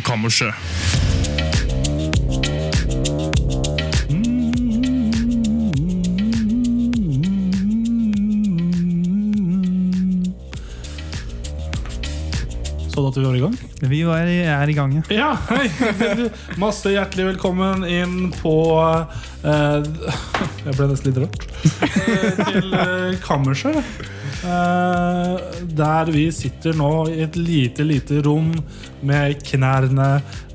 kammerset. Sånn at vi var i gang? Vi var, er i gang, ja. Ja, hei! Masse hjertelig velkommen inn på eh, Jeg ble nesten litt rørt. Eh, til eh, kammerset. Eh, der vi sitter nå i et lite, lite rom med knærne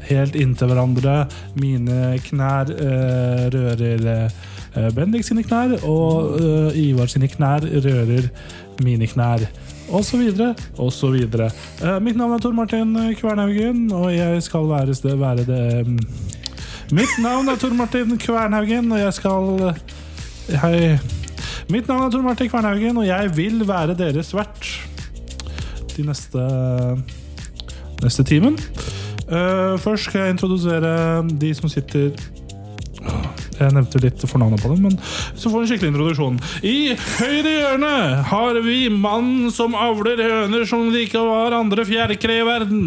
helt inntil hverandre. Mine knær eh, rører eh, Bendik sine knær, og eh, Ivar sine knær rører mine knær. Og så videre, og så videre. Eh, mitt navn er Tor Martin Kvernhaugen, og jeg skal være, sted, være det mm. Mitt navn er Tor Martin Kvernhaugen, og jeg skal eh, Hei. Mitt navn er Tor Martin Kvernhaugen, og jeg vil være deres vert de neste neste timen. Eh, først skal jeg introdusere de som sitter jeg nevnte litt fornavnet på dem, men så får vi en skikkelig introduksjon. I høyre hjørne har vi mannen som avler høner som det ikke var andre fjærkre i verden.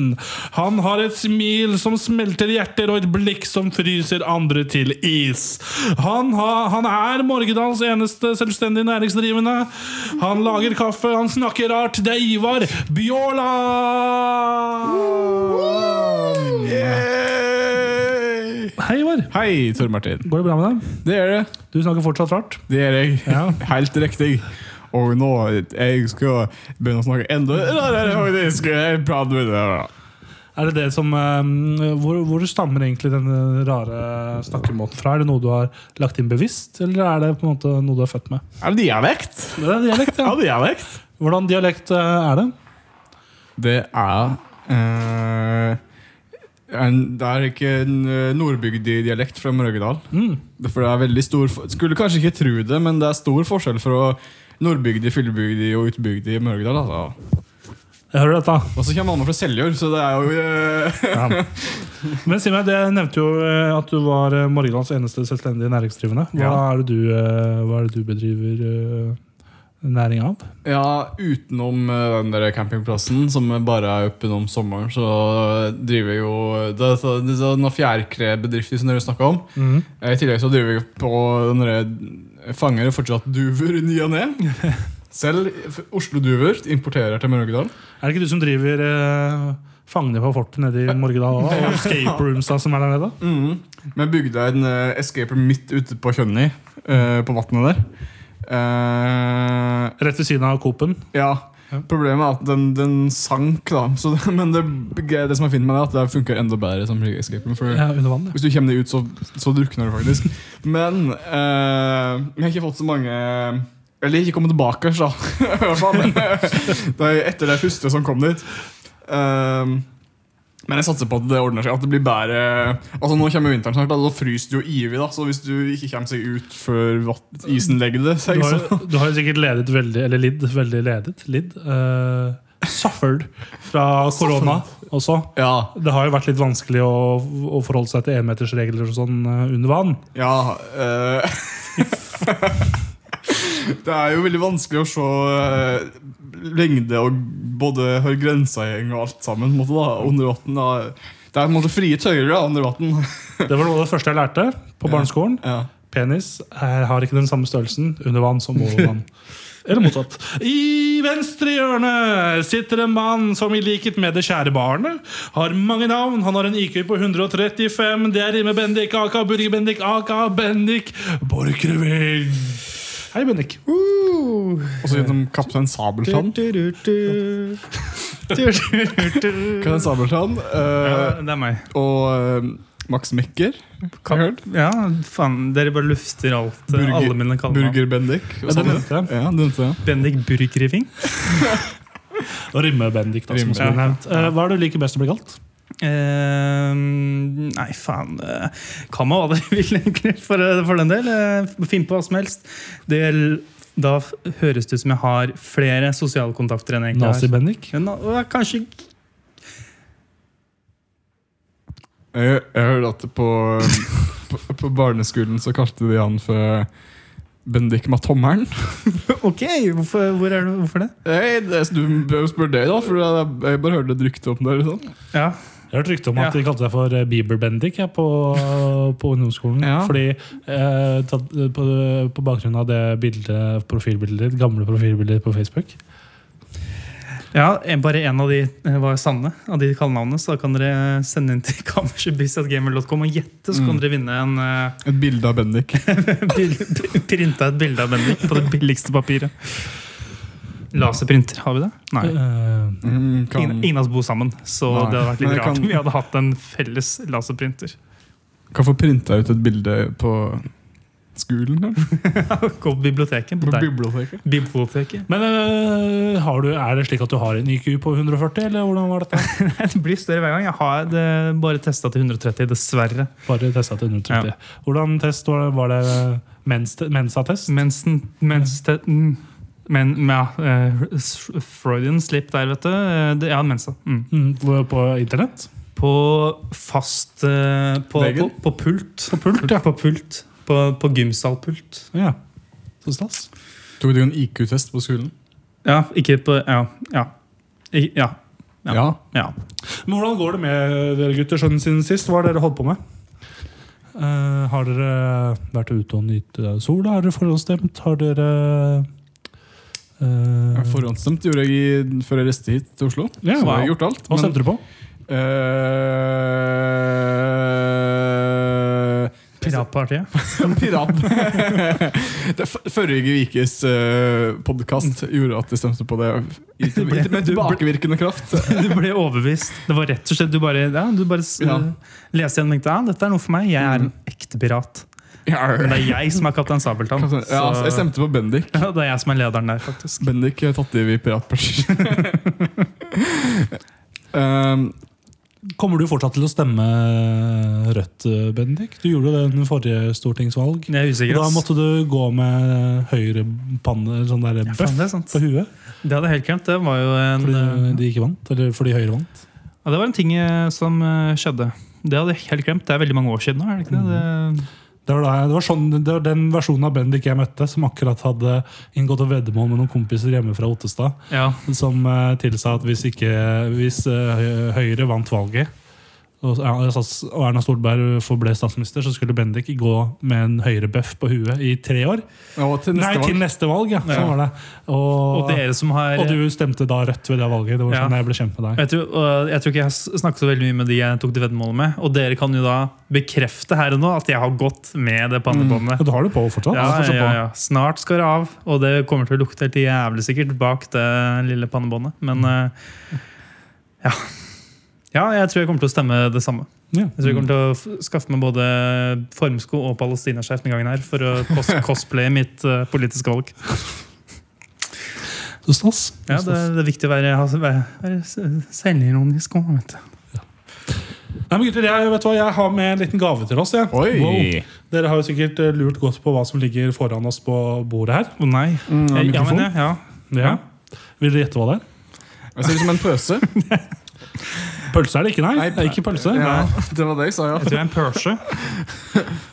Han har et smil som smelter hjerter, og et blikk som fryser andre til is. Han, ha, han er Morgedals eneste selvstendig næringsdrivende. Han lager kaffe, han snakker rart. Det er Ivar Bjåland! Hei, Ivar. Hei, Tor Martin. Går det bra med deg? Det er det. Du snakker fortsatt rart. Det er jeg. Ja. Helt riktig. Og nå jeg skal begynne å snakke enda rarere, faktisk. Jeg prater med deg. Er det det som eh, hvor, hvor stammer egentlig denne rare snakkemåten fra? Er det noe du har lagt inn bevisst, eller er det på en måte noe du er født med? Er det dialekt? Det er dialekt, ja. Er det dialekt? Hvordan dialekt eh, er det? Det er eh, en, Det er ikke en eh, nordbygdedialekt fra Mørgedal. For det er veldig stor for- Skulle kanskje ikke tro det, men det er stor forskjell fra nordbygd, fyllebygd og utbygd i Mørgedal. Altså. Jeg hører dette. Og så kommer alle fra Seljord, så det er jo eh, Men si meg, det nevnte jo eh, at du var eh, Morgenlands eneste selvstendige næringsdrivende. Hva, Ja. er, det du, eh, hva er det du bedriver eh, næring av? Ja, utenom eh, den der campingplassen som bare er åpen om sommeren, så driver jeg jo Det er så- det er noen fjærkrebedrifter som dere snakka om. Mhm. Eh, I tillegg så driver jeg på den derre Fanger jo fortsatt duver i ny og ne. Selv f- Oslo Duver importerer til Mørgedal. Er det ikke du som driver eh, Fangene på fortet nede i Morgedal? også, Og escape roomsa som er der nede? Men jeg bygde en eh, escaper midt ute på Kjønni, eh, på vannet der. Eh, Rett ved siden av Coop-en. Ja. Ja. Problemet er at den, den sank, da. Så, det- men det, det som er fint med det, er at det funker enda bedre som escape room. For Ja, under vann, ja. hvis du kommer deg ut, så, så drukner du faktisk. Men eh, jeg har ikke fått så mange Eller jeg har ikke kommet tilbake, så. I hvert fall. det er etter det første som kom dit. Eh, men jeg satser på at det ordner seg. At det blir bedre Altså Nå kommer vinteren snart, da, da fryser det jo ivig. da Så hvis du ikke kommer seg ut før vatt- isen legger det seg, Du har, så jo, du har jo sikkert ledet veldig, eller lidd veldig ledet, lidd, eh, suffered fra korona også. Ja Det har jo vært litt vanskelig å, å forholde seg til enmetersregler og sånn eh, under vann. Ja eh, Det er jo veldig vanskelig å se eh, lengde og både hvor grensa går og alt sammen. på en Måte, da, under vatten, da. Det er på en måte frie tøyler da, under vann. Det var noe av det første jeg lærte på barneskolen. Ja. Penis er, har ikke den samme størrelsen under vann som over vann. Eller motsatt. I venstre hjørne sitter en mann som i likhet med det kjære barnet har mange navn. Han har en IQ på 135. Det er Rime Bendik, aka Burger-Bendik, aka Bendik Borchgrevink. Hei, Bendik. Og så gjennom Kaptein Sabeltann. Kaptein Sabeltann eh, det er meg. og eh, Max Mekker. Har jeg hørt? Ja, faen, dere bare lufter alt. eh, Burger- alle mine kallenavn. Burger Bendik. sånn. Ja, det nevnte jeg. Ja, det nevnte jeg. Bendik Burgerifing. Og Rimme-Bendik, da. Som Rimme. også ble nevnt. Eh, hva er det du liker best å bli kalt? Eh, nei, faen. eh, Kall meg hva dere vil, egentlig, for, eh, for den del. Eh, Finn på hva som helst. Det, gjelder- da f- høres det ut som jeg har flere sosiale kontakter enn jeg egentlig har. Nazi-Bendik? Ja, na- ja, Kanskje Jeg, jeg hørte at på, på, på barneskolen så kalte de han for Bendik med tommelen. Ok, hvorfor, hvor er det, hvorfor det? Hey, det, du bør jo spørre deg, da, for jeg, jeg bare hørte et rykte om det. eller sånn. Ja, Jeg har hørt rykte om at Ja. de kalte seg for eh, Bieber-Bendik ja, på, på ungdomsskolen. Ja. Fordi eh, tatt, på, på bakgrunn av det bildet, profilbildet ditt, gamle profilbildet ditt på Facebook Ja, en- bare en av de eh, var sanne, av de kallenavnene. Så da kan dere sende inn til kammersetbystatgamer.com og gjette, så kan Mm. dere vinne en eh, Et bilde av Bendik. bil- bil- Printa et bilde av Bendik på det billigste papiret. Laserprinter, har vi det? Nei. Eh, Mm, kan- Ingen, ingen av oss bor sammen, så Nei. det hadde vært Men litt jeg rart kan- om vi hadde hatt en felles laserprinter. Kan få printa ut et bilde på skolen, kanskje? Gå på biblioteket. På På deg. biblioteket. Biblioteket. Men eh, har du, er det slik at du har en IQ på 140, eller hvordan var dette? Det blir større hver gang. Jeg har det bare testa til 130, dessverre. Bare testa til 130. Hvordan test var det? Var det mens, mensa-test? Mens, den- mens te, mm, men, men ja, eh, s- Freudian slip der, vet du. Eh, det- Ja, mensa. Mm. Mm, på- på internett? På fast eh, på, Legen? på, på pult. På pult, På, pult. på, på gymsalpult. Ja. Så stas. Tok du en IQ-test på skolen? Ja, ikke på Ja. Ja. I, ja, Ja. ja. Men hvordan går det med dere gutter sånn siden sist? Hva har dere holdt på med? Eh, har dere vært ute og nytt eh, sola? Har dere forhåndsstemt? Har dere Ja, eh, Forhåndsstemt gjorde jeg i, før jeg reiste hit til Oslo. Ja, så jeg har wow. gjort alt. eh, Hva stemte du på? øh, Piratpartiet. Pirat. det f- forrige ukes uh, podkast gjorde at jeg stemte på det i, Du ble- med du ble- tilbakevirkende kraft. Du ble overbevist. Det var rett og slett Du bare, ja, du bare s- eh, Ja. leste igjen og tenkte ja, dette er noe for meg. Jeg er en Mm. ekte pirat. Men Ja, det er jeg som er Kaptein Sabeltann. altså, jeg så- stemte på Bendik. ja, det er jeg som er lederen der, faktisk. Bendik har tatt livet i piratpartiet. um, Kommer du fortsatt til å stemme Rødt, eh, Bendik? Du gjorde jo det under forrige stortingsvalg. Jeg er usikker. Da ass. måtte du gå med høyre panne, eller sånn der Ja, bøff faen, det, er sant. på huet. det hadde jeg helt glemt. Det var jo en, Fordi eh, de ikke vant, eller fordi Høyre vant. ja, det var en ting eh, som eh, skjedde. Det hadde jeg helt glemt. Det er veldig mange år siden nå. er det ikke det? det Det var, da, jeg- det, var sånn, det var den versjonen av Bendik jeg møtte, som akkurat hadde inngått et veddemål med noen kompiser hjemme fra Ottestad. ja. som eh, tilsa at hvis, ikke, hvis eh, Høyre vant valget og ja, SAS- og Erna Solberg forble statsminister, så skulle Bendik gå med en høyrebøff på huet i tre år. og til Nei, neste til valg neste valg, ja. Sånn Ja. var det. Og, Og dere som har og du stemte da rødt ved det valget. Det var Ja. sånn jeg ble kjent med deg. Jeg tror, og jeg tror ikke jeg har s- snakket så veldig mye med de jeg tok det veddemålet med. Og dere kan jo da bekrefte her og nå at jeg har gått med det pannebåndet. Ja, du har det på fortsatt? Mm. Ja, fortsatt ja, på. ja, ja. Snart skal det av, og det kommer til å lukte helt jævlig sikkert bak det lille pannebåndet. Men eh, ja. ja, jeg tror jeg kommer til å stemme det samme. Ja. Jeg tror jeg kommer til å f- skaffe meg både formsko og palestinaskjerf den gangen her for å cos cosplaye mitt eh, politiske valg. Så stas. Ja, det, det er viktig å være, altså, være, være s- selvironisk òg, vet du. Nei, men gutter, jeg, vet du hva, jeg har med en liten gave til oss. Jeg. Oi! Wow. Dere har jo sikkert eh, lurt godt på hva som ligger foran oss på bordet her. Å nei. Eh, Mm, Ja, mikrofon. men, ja, ja. Ja. Vil dere gjette hva det er? Jeg ser ut som en pøse. Pølse er det ikke, nei. Nei, det er ikke pølse. Ja, det var det jeg sa, ja. Jeg tror jeg er en Porsche.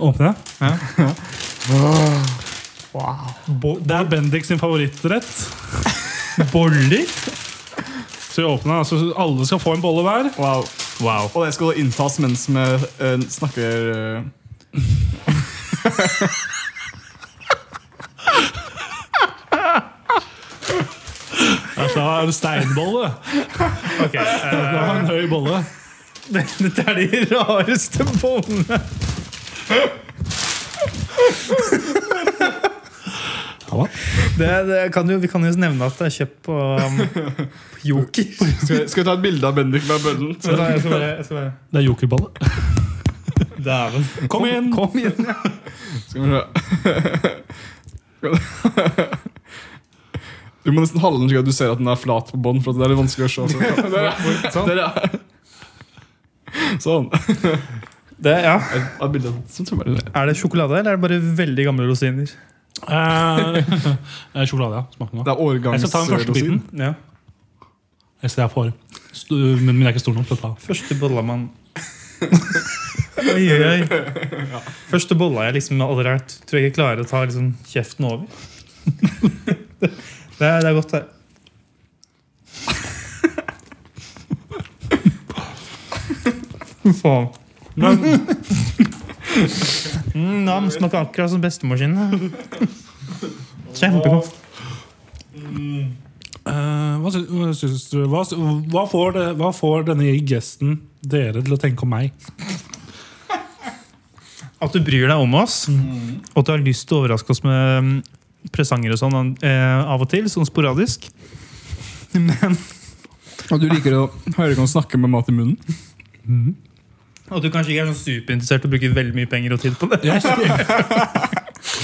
Åpne. Ja. Bo- Det er Bendik sin favorittrett. Boller. Så vi åpner, altså Alle skal få en bolle hver. Wow. Og det skal inntas mens vi eh, snakker eh, Dette er en steinbolle. Ok, Det eh, var en høy bolle. Dette er de rareste båndene. Det, det kan jo, vi kan jo nevne at det er kjøpt på, um, på Joker. Skal, skal vi ta et bilde av Bendik med bøllen? Så da, jeg skal bare, jeg skal bare. Det er jokerbolle. Dæven. Kom igjen! Kom igjen. Skal vi se Du må nesten halve den slik at du ser at den er flat på bånn. For at det er litt vanskelig å se. Så- Der, ja. Der, ja. Sånn. Det, ja. Et et bilde som tror jeg det. Er det sjokolade, eller er det bare veldig gamle rosiner? Eh, eh, sjokolade, ja. Smak den. da. Det er årgangs- Jeg skal ta den første biten. Ja. Jeg ser jeg får. St- Men min er ikke stor nok. til å ta. Første bolla man Oi, oi, oi. Første bolla jeg liksom aldri har Tror jeg ikke klarer å ta liksom kjeften over. Det er, det er godt, det. Faen. Mm, nam smaker akkurat som bestemor sin. Kjempegodt. Eh, hva, sy- hva syns du hva, hva, får det, hva får denne gesten dere til å tenke om meg? At du bryr deg om oss, og at du har lyst til å overraske oss med mm, presanger og sånn eh, av og til, sånn sporadisk. Men Og du liker å høre noen snakke med mat i munnen? At du kanskje ikke er sånn superinteressert og bruker veldig mye penger og tid på det. Jeg sto,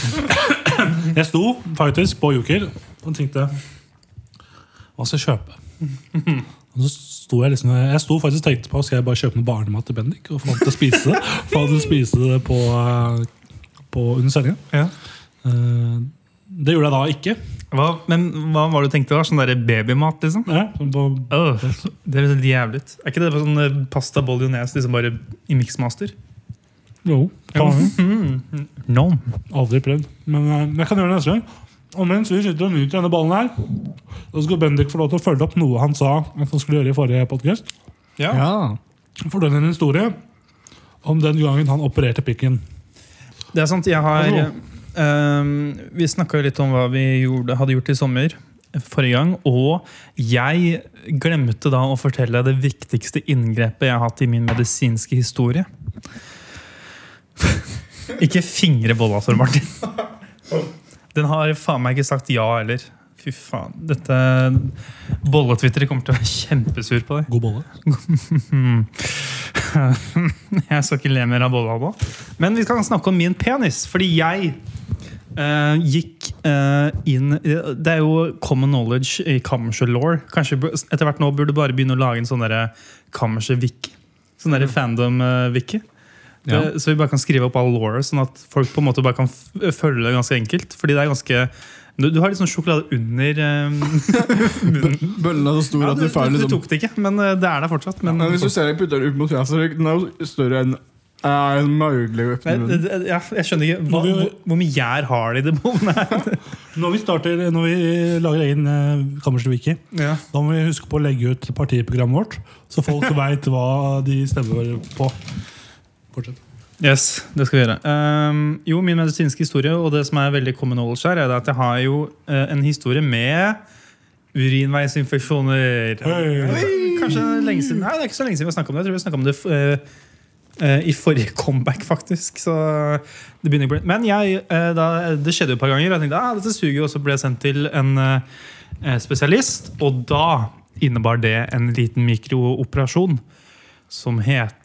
jeg sto faktisk på Joker og tenkte Hva skal jeg kjøpe? Og så sto jeg liksom Jeg sto faktisk og tenkte på Skal jeg bare kjøpe noe barnemat til Bendik og få han til å spise det Få han til å spise det på, eh, på under sendingen. Ja. Eh, Det gjorde jeg da ikke. Hva, men hva var det du tenkte da? Sånn der babymat, liksom? Ja, sånn på Åh, det er litt jævlig. Er ikke det bare sånn eh, pasta bolognese liksom bare i miksmaster? Jo. faen. Mm. No. Aldri prøvd. Men eh, jeg kan gjøre det neste gang. Og mens vi sitter og nyter denne ballen her, så skal Bendik få lov til å følge opp noe han sa at han skulle gjøre i forrige podcast Ja. Fortell en historie om den gangen han opererte pikken. Det er sant. Jeg har Hallo. eh, Vi snakka litt om hva vi gjorde, hadde gjort i sommer forrige gang. Og jeg glemte da å fortelle det viktigste inngrepet jeg har hatt i min medisinske historie. ikke fingre bolla, Tor Martin. Den har faen meg ikke sagt ja heller. Fy faen. Dette bolletwitteret kommer til å være kjempesur på deg. God bolle. Hmm. jeg skal ikke le mer av bolla nå. Men vi skal snakke om min penis, fordi jeg eh, gikk eh, inn Det er jo common knowledge i kammerset-law. Kanskje bu- etter hvert nå burde du bare begynne å lage en sånn derre kammerset-wiki. Sånn derre fandom-wiki. Det, Mm. Ja. Så vi bare kan skrive opp all law, sånn at folk på en måte bare kan f følge det ganske enkelt. Fordi det er ganske Du, du har litt sånn sjokolade under eh, munnen. Bøllen er så stor Ja, at du, du får du, du liksom tok det ikke, men eh, det er der fortsatt. Men, Men hvis du ser jeg putter den ut mot fjeset, så den er jo større enn eh, en maurlig økt Nei, munn. det- det- ja, jeg skjønner ikke hva, Må vi jo- hvor, hvor mye gjær har de i det båndet her? Når vi starter, når vi lager egen eh, Kammersviki, Ja. da må vi huske på å legge ut partiprogrammet vårt, så folk veit hva de stemmer på. Fortsett. Yes, det skal vi gjøre. Ehm, jo, min medisinske historie, og det som er veldig common knowledge her, er det at jeg har jo eh, en historie med urinveisinfeksjoner. Hei! Kanskje lenge siden Nei, det er ikke så lenge siden vi har snakket om det. Jeg tror vi snakket om det eh, eh, i forrige comeback, faktisk. Så det begynner å bli Men jeg, eh, da, det skjedde jo et par ganger. og Jeg tenkte ah, dette suger jo, og så ble jeg sendt til en eh, spesialist. Og da innebar det en liten mikrooperasjon som het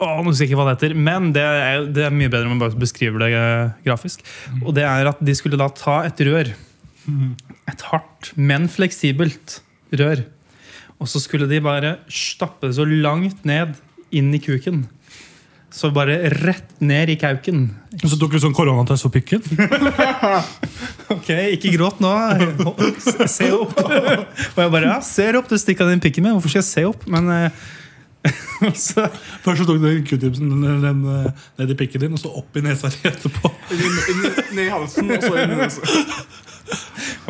Åh, nå husker jeg ikke hva det heter, men det er, det er mye bedre om man bare beskriver det eh, grafisk. Og det er at de skulle da ta et rør. Et hardt, men fleksibelt rør. Og så skulle de bare stappe det så langt ned inn i kuken. Så bare rett ned i kauken. Og så tok vi sånn koronatest for pikken. Ok, ikke gråt nå. Se opp. Og jeg bare ja, ser opp. Du stikka den pikken min. Hvorfor skal jeg se opp? Men eh, så, Først så tok du den q-tipsen den- den, eh, ned i pikken din, og så opp i nesa di etterpå. Ned i halsen, og så inn i nesa.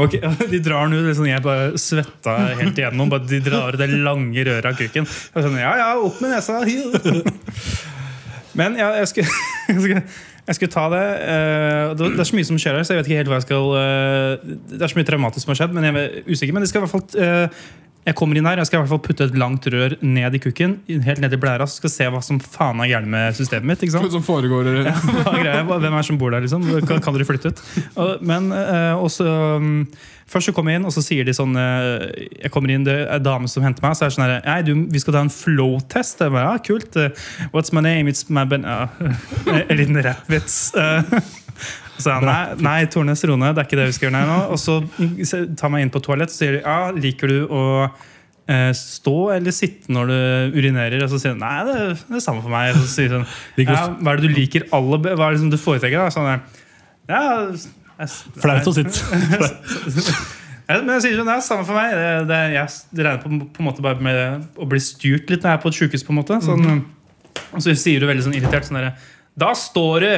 Ok, De drar den ut. Liksom, jeg bare svetta helt igjennom. Bare de drar det lange røret av kuken. Jeg var sånn, ja, ja, opp med nesa Men ja, jeg, skulle, jeg, skulle, jeg skulle ta det. eh, og Det det er så mye som skjer her, så jeg vet ikke helt hva jeg skal eh, Det er så mye traumatisk som har skjedd, men jeg er usikker. Men det skal i hvert fall eh, jeg kommer inn her, jeg skal i hvert fall putte et langt rør ned i kukken. Helt ned i blæra, så skal jeg se hva som faen er gærent med systemet mitt. ikke sant? Hva som foregår eller? Hva er greia? Hva- Hvem er det som bor der, liksom? Kan, kan dere flytte ut? Og- Men eh, og så, mm, Først så kommer jeg inn, og så sier de sånn eh, Jeg kommer inn, det er en dame som henter meg. Så er det sånn her, Nei, du, vi skal ta en flow-test. Jeg bare, Ja, kult. eh, What's my name? It's my ben... Ja. Eh, En liten rappvits. eh. Så han, nei, nei Tornes Rone, det er ikke det vi skal gjøre nei, nå. Og så se- tar meg inn på toalett og sier de, ja, liker du å eh, stå eller sitte når du urinerer? Og så sier han nei, det, det er samme for meg. Og så sier han Liker å ja, hva er det du liker aller be- Hva er det som du foretrekker? da? Sånn, ja, jeg, Flaut å sitte. ja, men jeg sier sånn, det er samme for meg. Det, det, jeg det regner på, på en måte bare med å bli styrt litt når jeg er på et sykehus. På en måte. Sånn, Og så sier du veldig sånn irritert sånn derre Da står du!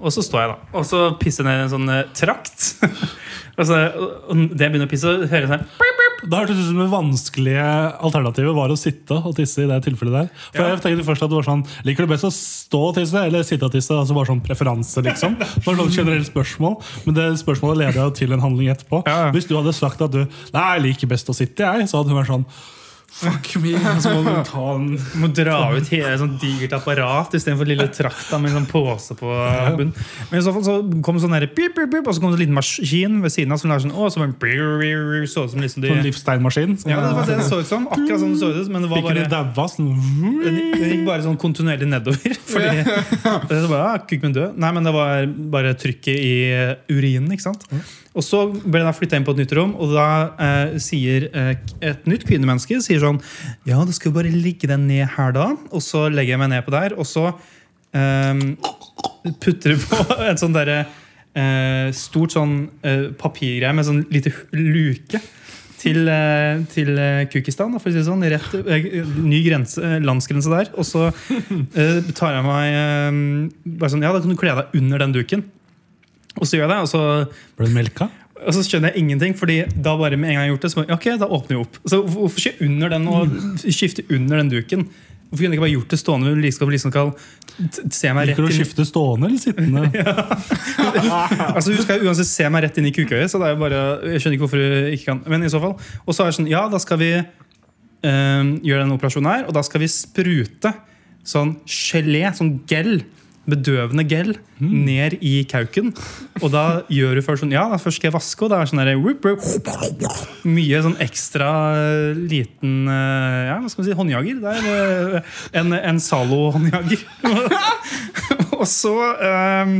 Og så står jeg, da. Og så pisser jeg ned i en sånn eh, trakt. og, så, og og det begynner å pisse, og hører jeg sånn pip, pip. Da hørtes det ut som det vanskelige alternativet var å sitte og tisse. i det tilfellet der For Ja. jeg tenkte først at det var sånn Liker du best å stå og tisse eller sitte og tisse? Altså bare sånn preferanse liksom Det var sånn generelt spørsmål Men det spørsmålet leder jo til en handling etterpå. Ja, ja. Hvis du hadde sagt at du Nei, jeg liker best å sitte, jeg, så hadde hun vært sånn Fuck me. Så må du ta en Du må dra ut hele et sånt digert apparat istedenfor lille trakta med en sånn pose på bunnen. Men i så fall så kom sånn der, pip, pip, pip, og så kom det en liten maskin ved siden av som lagde sånn å, så bare, brr, brr, brr, så ut som liksom de sånn livsteinmaskin. ja, det var det det så ut som. Akkurat sånn det så ut, men det var Fikk bare du daua sånn den, den gikk bare sånn kontinuerlig nedover. Fordi det var ah, kukk min død. Nei, men det var bare trykket i eh, urinen. ikke sant? Og så ble jeg flytta inn på et nytt rom, og da eh, sier eh, et nytt kvinnemenneske sier sånn Ja, du skal jo bare ligge deg ned her da, og så legger jeg meg ned på der, og så ehm, putter du på en sånn derre eh, stort sånn eh, papirgreie med sånn lite hu- luke til, eh, til eh, Kukistan, da, for å si det sånn. Rett, eh, ny grense, eh, landsgrense der. Og så eh, tar jeg meg eh, bare sånn Ja, da kan du kle deg under den duken. Og så gjør jeg det, og så, Ble du melka? og så skjønner jeg ingenting. Fordi da bare med en gang jeg har gjort det, så bare, ja, ok, da åpner jeg opp. Så hvorfor ikke under den og skifte under den duken? Hvorfor kunne jeg ikke bare gjort det stående? Liksom, skal- liksom skal t- se meg rett Liker du å inn i skifte stående eller sittende? Altså Hun skal uansett se meg rett inn i kukøyet, så det er jo bare, jeg skjønner ikke hvorfor hun ikke kan. Men i så fall Og så er det sånn, ja, da skal vi ehm, gjøre denne operasjonen her, og da skal vi sprute sånn gelé, sånn gel, bedøvende gel, ned i kauken. Og da gjør du først sånn Ja, da først skal jeg vaske, og da er det sånn der, whoop, whoop. Mye sånn ekstra eh, liten eh, Ja, hva skal vi si, håndjager. Det er eh, en, en Zalo-håndjager. Og så ehm,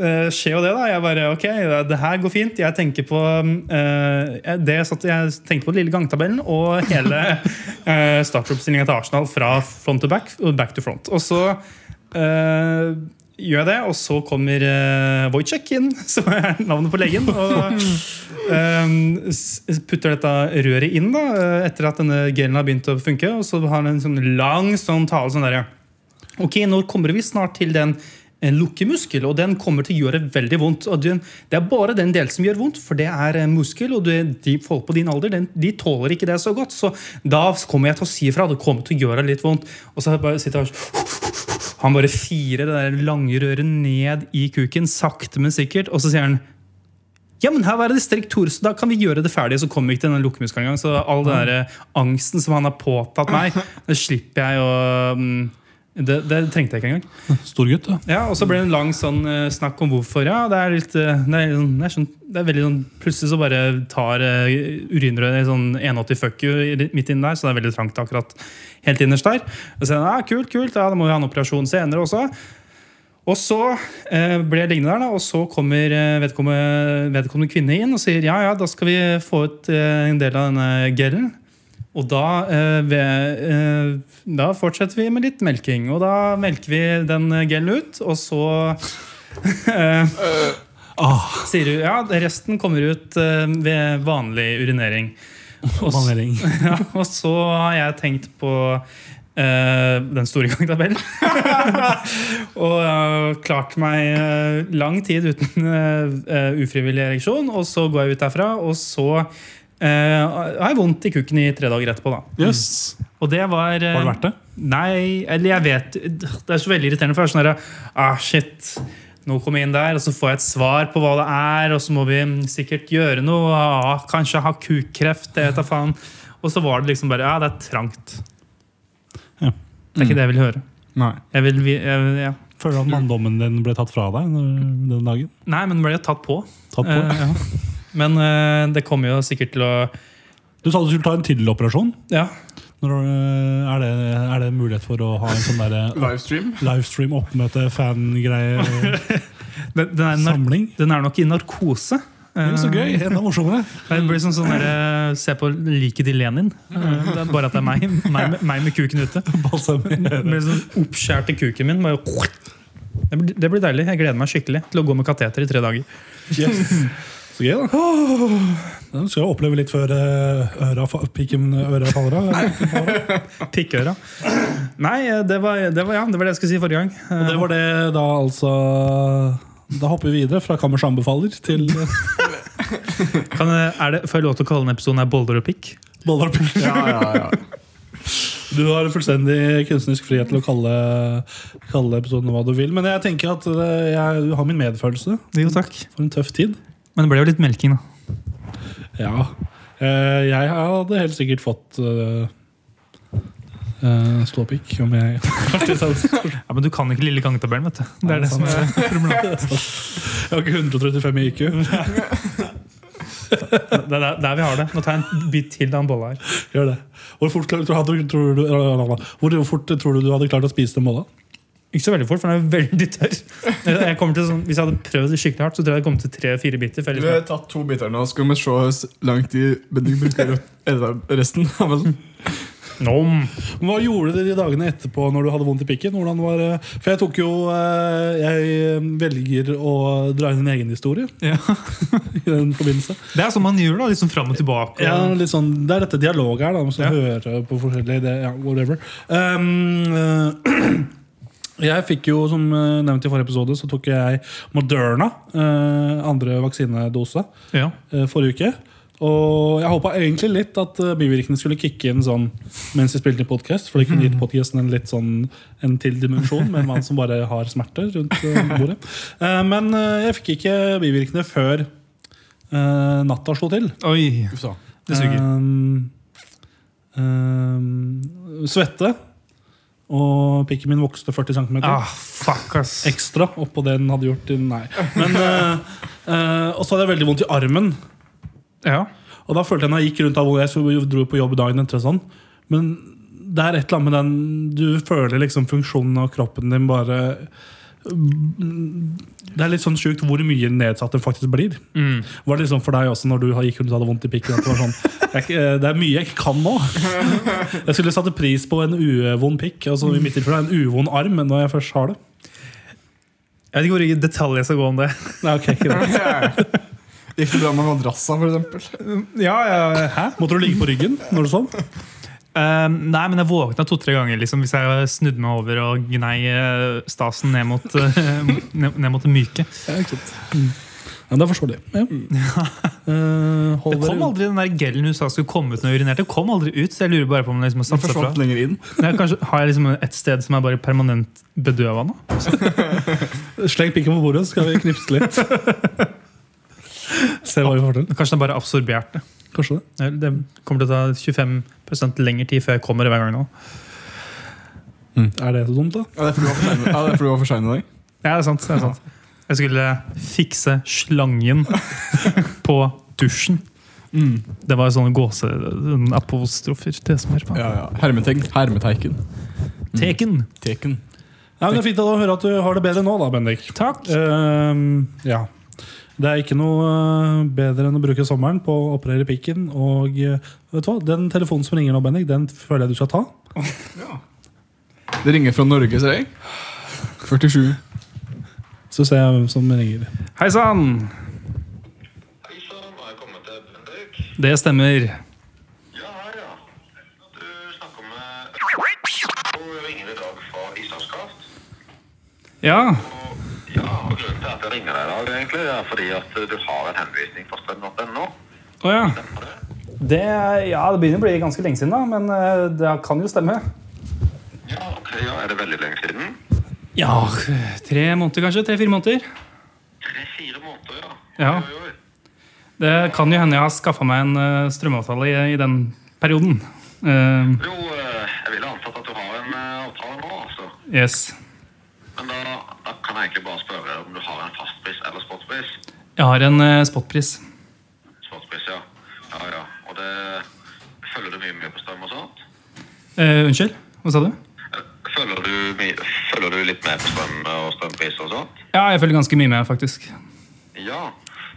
eh, skjer jo det, da. Jeg bare OK, det, det her går fint. Jeg tenker på eh, det jeg satt, jeg tenkte på den lille gangtabellen og hele uh, startoppstillinga til Arsenal fra front to back og back to front. Og så eh, gjør jeg det, og så kommer uh, Wojciech inn, som er navnet på legen. Og eh, s- putter dette røret inn da, eh, etter at denne gelen har begynt å funke. Og så har han en sånn lang sånn tale sånn derre Ok, nå kommer vi snart til den eh, lukkemuskel, og den kommer til å gjøre veldig vondt. Og den, det er bare den delen som gjør vondt, for det er eh, muskel, og det, de folk på din alder den, de tåler ikke det så godt. Så da kommer jeg til å si ifra. Det kommer til å gjøre litt vondt. Og så bare sitter jeg og han bare firer det der lange røret ned i kuken, sakte, men sikkert. Og så sier han ja, men her var det distrikt Tor, så da kan vi gjøre det ferdig. Så kommer vi ikke til den lukkemuskelen engang. Så all den der eh, angsten som han har påtatt meg, det slipper jeg å mm, det, det trengte jeg ikke engang. Storgutt, da. Ja, Og så ble det en lang sånn eh, snakk om hvorfor. Ja, det er litt eh, Det er, sånn- det er, sånn, det er veldig sånn Plutselig så bare tar uh, urinrøret i sånn 180 fuck you i- midt inni der, så det er veldig trangt akkurat helt innerst der. Og så sier han ja, kult, kult, ja, da må vi ha en operasjon senere også. Og så eh, ble jeg liggende der, da, og så kommer eh, vedkommende, vedkommende kvinne inn og sier ja, ja, da skal vi få ut eh, en del av denne gelen. Og da, eh, ved, eh, da fortsetter vi med litt melking. Og da melker vi den eh, gelen ut, og så eh, Ah, sier du ja, resten kommer ut eh, ved vanlig urinering. Og s- banering. ja, og så har jeg tenkt på eh, den store gangtabellen. og eh, klart meg eh, lang tid uten eh, eh, ufrivillig ereksjon. Og så går jeg ut derfra, og så eh, har jeg vondt i kukken i tre dager etterpå. da Yes. Og det var eh, Var det verdt det? Nei, eller jeg vet Det er så veldig irriterende, for det er sånn der, Ah, shit. Nå kommer jeg inn der, og så får jeg et svar på hva det er, og så må vi sikkert gjøre noe. Ah, kanskje ha kukkreft, det vet jeg faen. Og så var det liksom bare Ja, det er trangt. Ja. Mm. Det er ikke det jeg vil høre. Nei. Jeg vil, vi- jeg, ja. Føler du at manndommen din ble tatt fra deg når- den dagen? Nei, men ble jeg tatt på? Tatt på? Eh, ja. Men eh, det kommer jo sikkert til å Du sa du skulle ta en tiddeloperasjon. Ja. Når, øh, Er, det- er det mulighet for å ha en sånn derre Livestream? livestream oppmøte fan-greie Den, den, er, nar- samling? den er nok i narkose. Men så Eh, gøy! Enda morsommere. Det blir sånn sånn der, eh, Se på liket til Lenin. Eh, Det er bare at det er meg, meg, meg med kuken ute. Det Balsamere. blir sånn Oppskjærte kuken min. Bare, det, blir, det blir deilig. Jeg gleder meg skikkelig til å gå med kateter i tre dager. Så gøy, da. Den skal jeg oppleve litt før øh, øra, fa- pikken øra faller av. Pikkøra. Nei, eh, det var det, var, ja, det var det jeg skulle si forrige gang. Og Eh, det var det da altså Da hopper vi videre fra Kammers anbefaler til Kan jeg, er det, får jeg lov til å kalle denne episoden her Boller og pikk? Boller og pikk. Ja, ja, ja. Du har fullstendig kunstnerisk frihet til å kalle, kalle episoden hva du vil. Men jeg tenker at det, jeg har min medfølelse Jo, takk. for en tøff tid. Men det ble jo litt melking, da. Ja. Eh, Jeg hadde helt sikkert fått eh, eh, ståpikk om jeg Ja, Men du kan ikke lille gangetabellen, vet du. Det er sånn. det som er Jeg har ikke 135 i IQ. Det er der, der vi har det. Nå tar jeg en bit til av en bolle her. Gjør det. Hvor fort, klar- tror du- tror du, hvor fort tror du du hadde klart å spise den bolla? Ikke så veldig fort, for den er jo veldig tørr. Jeg kommer til sånn, hvis jeg hadde prøvd det skikkelig hardt, så tror jeg jeg kom til tre-fire biter. For Du jeg liksom- har tatt to biter nå, skal vi se hvor lang tid du bruker å spise resten. av den. Nom. Hva gjorde du de dagene etterpå når du hadde vondt i pikken? Hvordan var, eh, for jeg tok jo eh, Jeg velger å dra inn en egen historie Ja. i den forbindelse. Det er sånn man gjør, da. Liksom fram og tilbake. Ja, litt sånn, det er dette dialoget her, da, som Ja. hører på forskjellige det, ja, whatever. Um, eh, jeg fikk jo, som eh, nevnt i forrige episode, så tok jeg Moderna, eh, andre vaksinedose, Ja. eh, forrige uke. Og jeg håpa egentlig litt at eh, bivirkningene skulle kicke inn sånn mens vi spilte i podkast, for det kunne Mhm. gitt podkasten en litt sånn en til dimensjon med en mann som bare har smerter rundt eh, bordet. Eh, men eh, jeg fikk ikke bivirkningene før eh, natta slo til. Oi. Det suger. Ehm, ehm, Eh, svette. Og pikken min vokste 40 cm Ah, fuck, ass. ekstra oppå det den hadde gjort. Nei. Men, eh, eh, og så hadde jeg veldig vondt i armen. Ja. Og da følte jeg når jeg gikk rundt av hvor jeg så- dro på jobb dagen etter og sånn. Men det er et eller annet med den Du føler liksom funksjonen av kroppen din bare Det er litt sånn sjukt hvor mye nedsatt den faktisk blir. Mm. Var det liksom for deg også når du gikk rundt og hadde vondt i pikken? At det, var sånn, det, er, ikke- det er mye jeg ikke kan nå. Jeg skulle satt pris på en uvond pikk, altså i mitt tilfelle en uvond arm, men når jeg først har det Jeg vet ikke hvor i detalj jeg skal gå om det. Nei, ok, ikke det. Gikk det bra med madrassa, for eksempel? Ja, ja, hæ? Måtte du ligge på ryggen når du sånn? sov? Ehm, nei, men jeg våkna to-tre ganger liksom, hvis jeg snudde meg over og gnei eh, stasen ned mot, eh, ned, ned mot det myke. Ja, ikke sant. Mm. Ja, det er forståelig. Ja. Eh, hold Det dere kom unna. aldri den der gelen hun sa skulle komme ut når jeg urinerte. Det kom aldri ut, så jeg lurer bare på om den Den liksom har satt seg fra. forsvant lenger inn. Nei, kanskje, har jeg liksom et sted som er bare permanent bedøva nå? Sleng pikken på bordet, så skal vi knipse litt. Se hva vi får til. Kanskje den bare har absorbert det. Kanskje det. Eller Det kommer til å ta 25 lengre tid før jeg kommer hver gang nå. Er det så dumt, da? Ja, det er fordi du var for sein- ja, det er fordi du var for sein i dag. Ja, det er sant. Det er sant. Jeg skulle fikse slangen på dusjen. Det var sånne gåse... Apostrofer til det som hører på. Ja, ja. Hermetegn. Hermeteiken. Teken. Teken. Ja, men det er fint å høre at du har det bedre nå, da, Bendik. Takk. Ehm, ja. Det er ikke noe eh, bedre enn å bruke sommeren på å operere pikken. Og eh, vet du hva? den telefonen som ringer nå, Bendik, den føler jeg du skal ta. Det ringer fra Norge, ser jeg. 47. Så ser jeg hvem som ringer. Hei sann! Hei sann, har jeg kommet til Bendik? Det stemmer. Ja, her, ja. Du snakker med Og ringer i dag fra Islandskraft. Ja. Og ja, og grunnen til at jeg ringer deg i dag, egentlig, er fordi at du har en henvisning fra strøm.no. Å ja. Det, ja, det begynner å bli ganske lenge siden, da, men eh, det kan jo stemme. Ja, ok, ja, er det veldig lenge siden? Ja, tre måneder kanskje? Tre-fire måneder. Tre-fire måneder, ja. Ja. Oi, oi, oi. Det kan jo hende jeg har skaffa meg en eh, strømavtale i, i den perioden. Eh, Jo, eh, jeg ville antatt at du har en eh, avtale nå, altså. yes. Men da, da kan jeg egentlig bare spørre deg om du har en fastpris eller spotpris. Jeg har en eh, spotpris. Spotpris, ja. Ja, ja. Og det Følger du mye med på strøm og sånt? Eh, unnskyld? Hva sa du? Følger du, my- følger du litt med på strøm eh, og strømpriser og sånt? Ja, jeg følger ganske mye med, faktisk. Ja.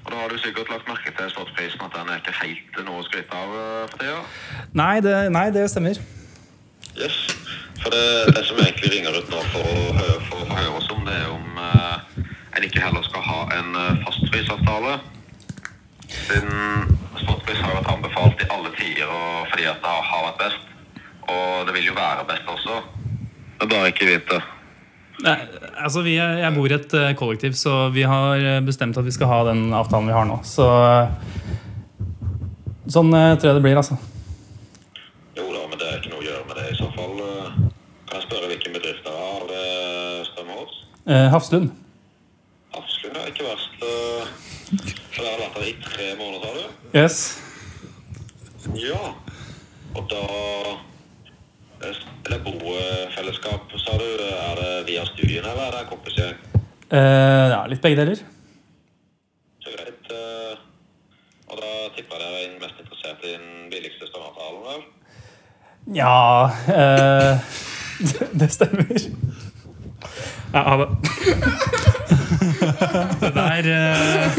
Og da har du sikkert lagt merke til spotprisen at den er ikke helt noe å skryte av eh, for tida? Nei, det, stemmer. Yes. For det, det som egentlig ringer ut nå for å hø- for å høre oss om, det er om eh, en ikke heller skal ha en eh, fastprisavtale. Siden spotpris har vært anbefalt i alle tider og fordi at det har- har vært best. Og det vil jo være best også. Men bare ikke i vinter. Nei, altså vi er, Jeg bor i et eh, kollektiv, så vi har eh, bestemt at vi skal ha den avtalen vi har nå. Så eh, sånn eh, tror jeg det blir, altså. Jo da, men det er ikke noe å gjøre med det i så fall. eh. Kan jeg spørre hvilken bedrift dere har? Er Det stemmer hos? Eh, Hafslund. Absolutt, det er ikke verst. eh. For dere har vært der i tre måneder, har du? Yes. Ja. Og da eh, er det bofellesskap, sa du. Er det via studiene, eller er det kompisgjeng? Eh, ja, litt begge deler. Så greit. eh. Og da tipper jeg dere er mest interessert i den billigste strømavtalen, vel? Ja eh, det, det stemmer. Ja, ha det. Det der eh,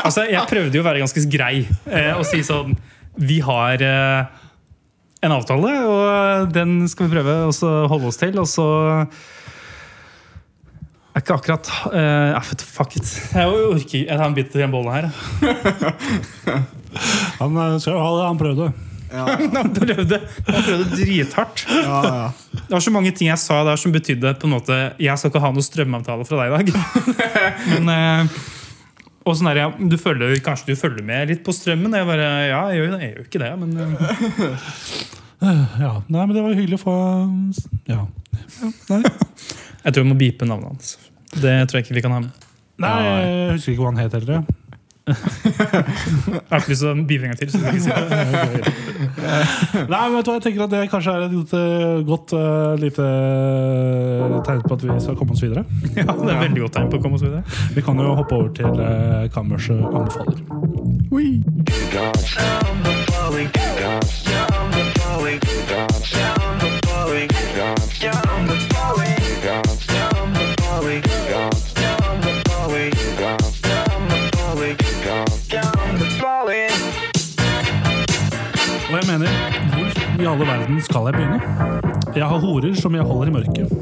Altså, jeg prøvde jo å være ganske grei eh, og si sånn Vi har eh, en avtale, og den skal vi prøve å så holde oss til, og så er ikke akkurat eh, ja, Fuck it. Jeg orker Jeg tar en bit i den bollen her. Han eh, skal jo ha det, han prøvde. Han prøvde, han prøvde drithardt. Ja, ja. Det var så mange ting jeg sa der som betydde på en måte Jeg skal ikke ha noen strømavtale fra deg i dag. Men eh, og sånn der, ja, du følger, Kanskje du følger med litt på strømmen? Jeg bare, ja, jeg gjør, jeg gjør ikke det, men eh, Ja, Nei, men det var hyggelig å få Ja. jeg tror jeg må beepe navnet hans. Det tror jeg ikke vi kan ha med. Nei, jeg husker ikke hva han het heller. Jeg har ikke lyst til å beepe en gang til. Så jeg kan ikke si det. Nei, men vet du hva, jeg tenker at det kanskje er et godt, eh, godt eh, lite eh, tegn på at vi skal komme oss videre. Ja, det er veldig godt tegn på å komme oss videre. Vi kan jo hoppe over til eh, kammerset anbefaler. Og jeg mener, hvor i alle verden skal jeg begynne? Jeg har horer som jeg holder i mørket.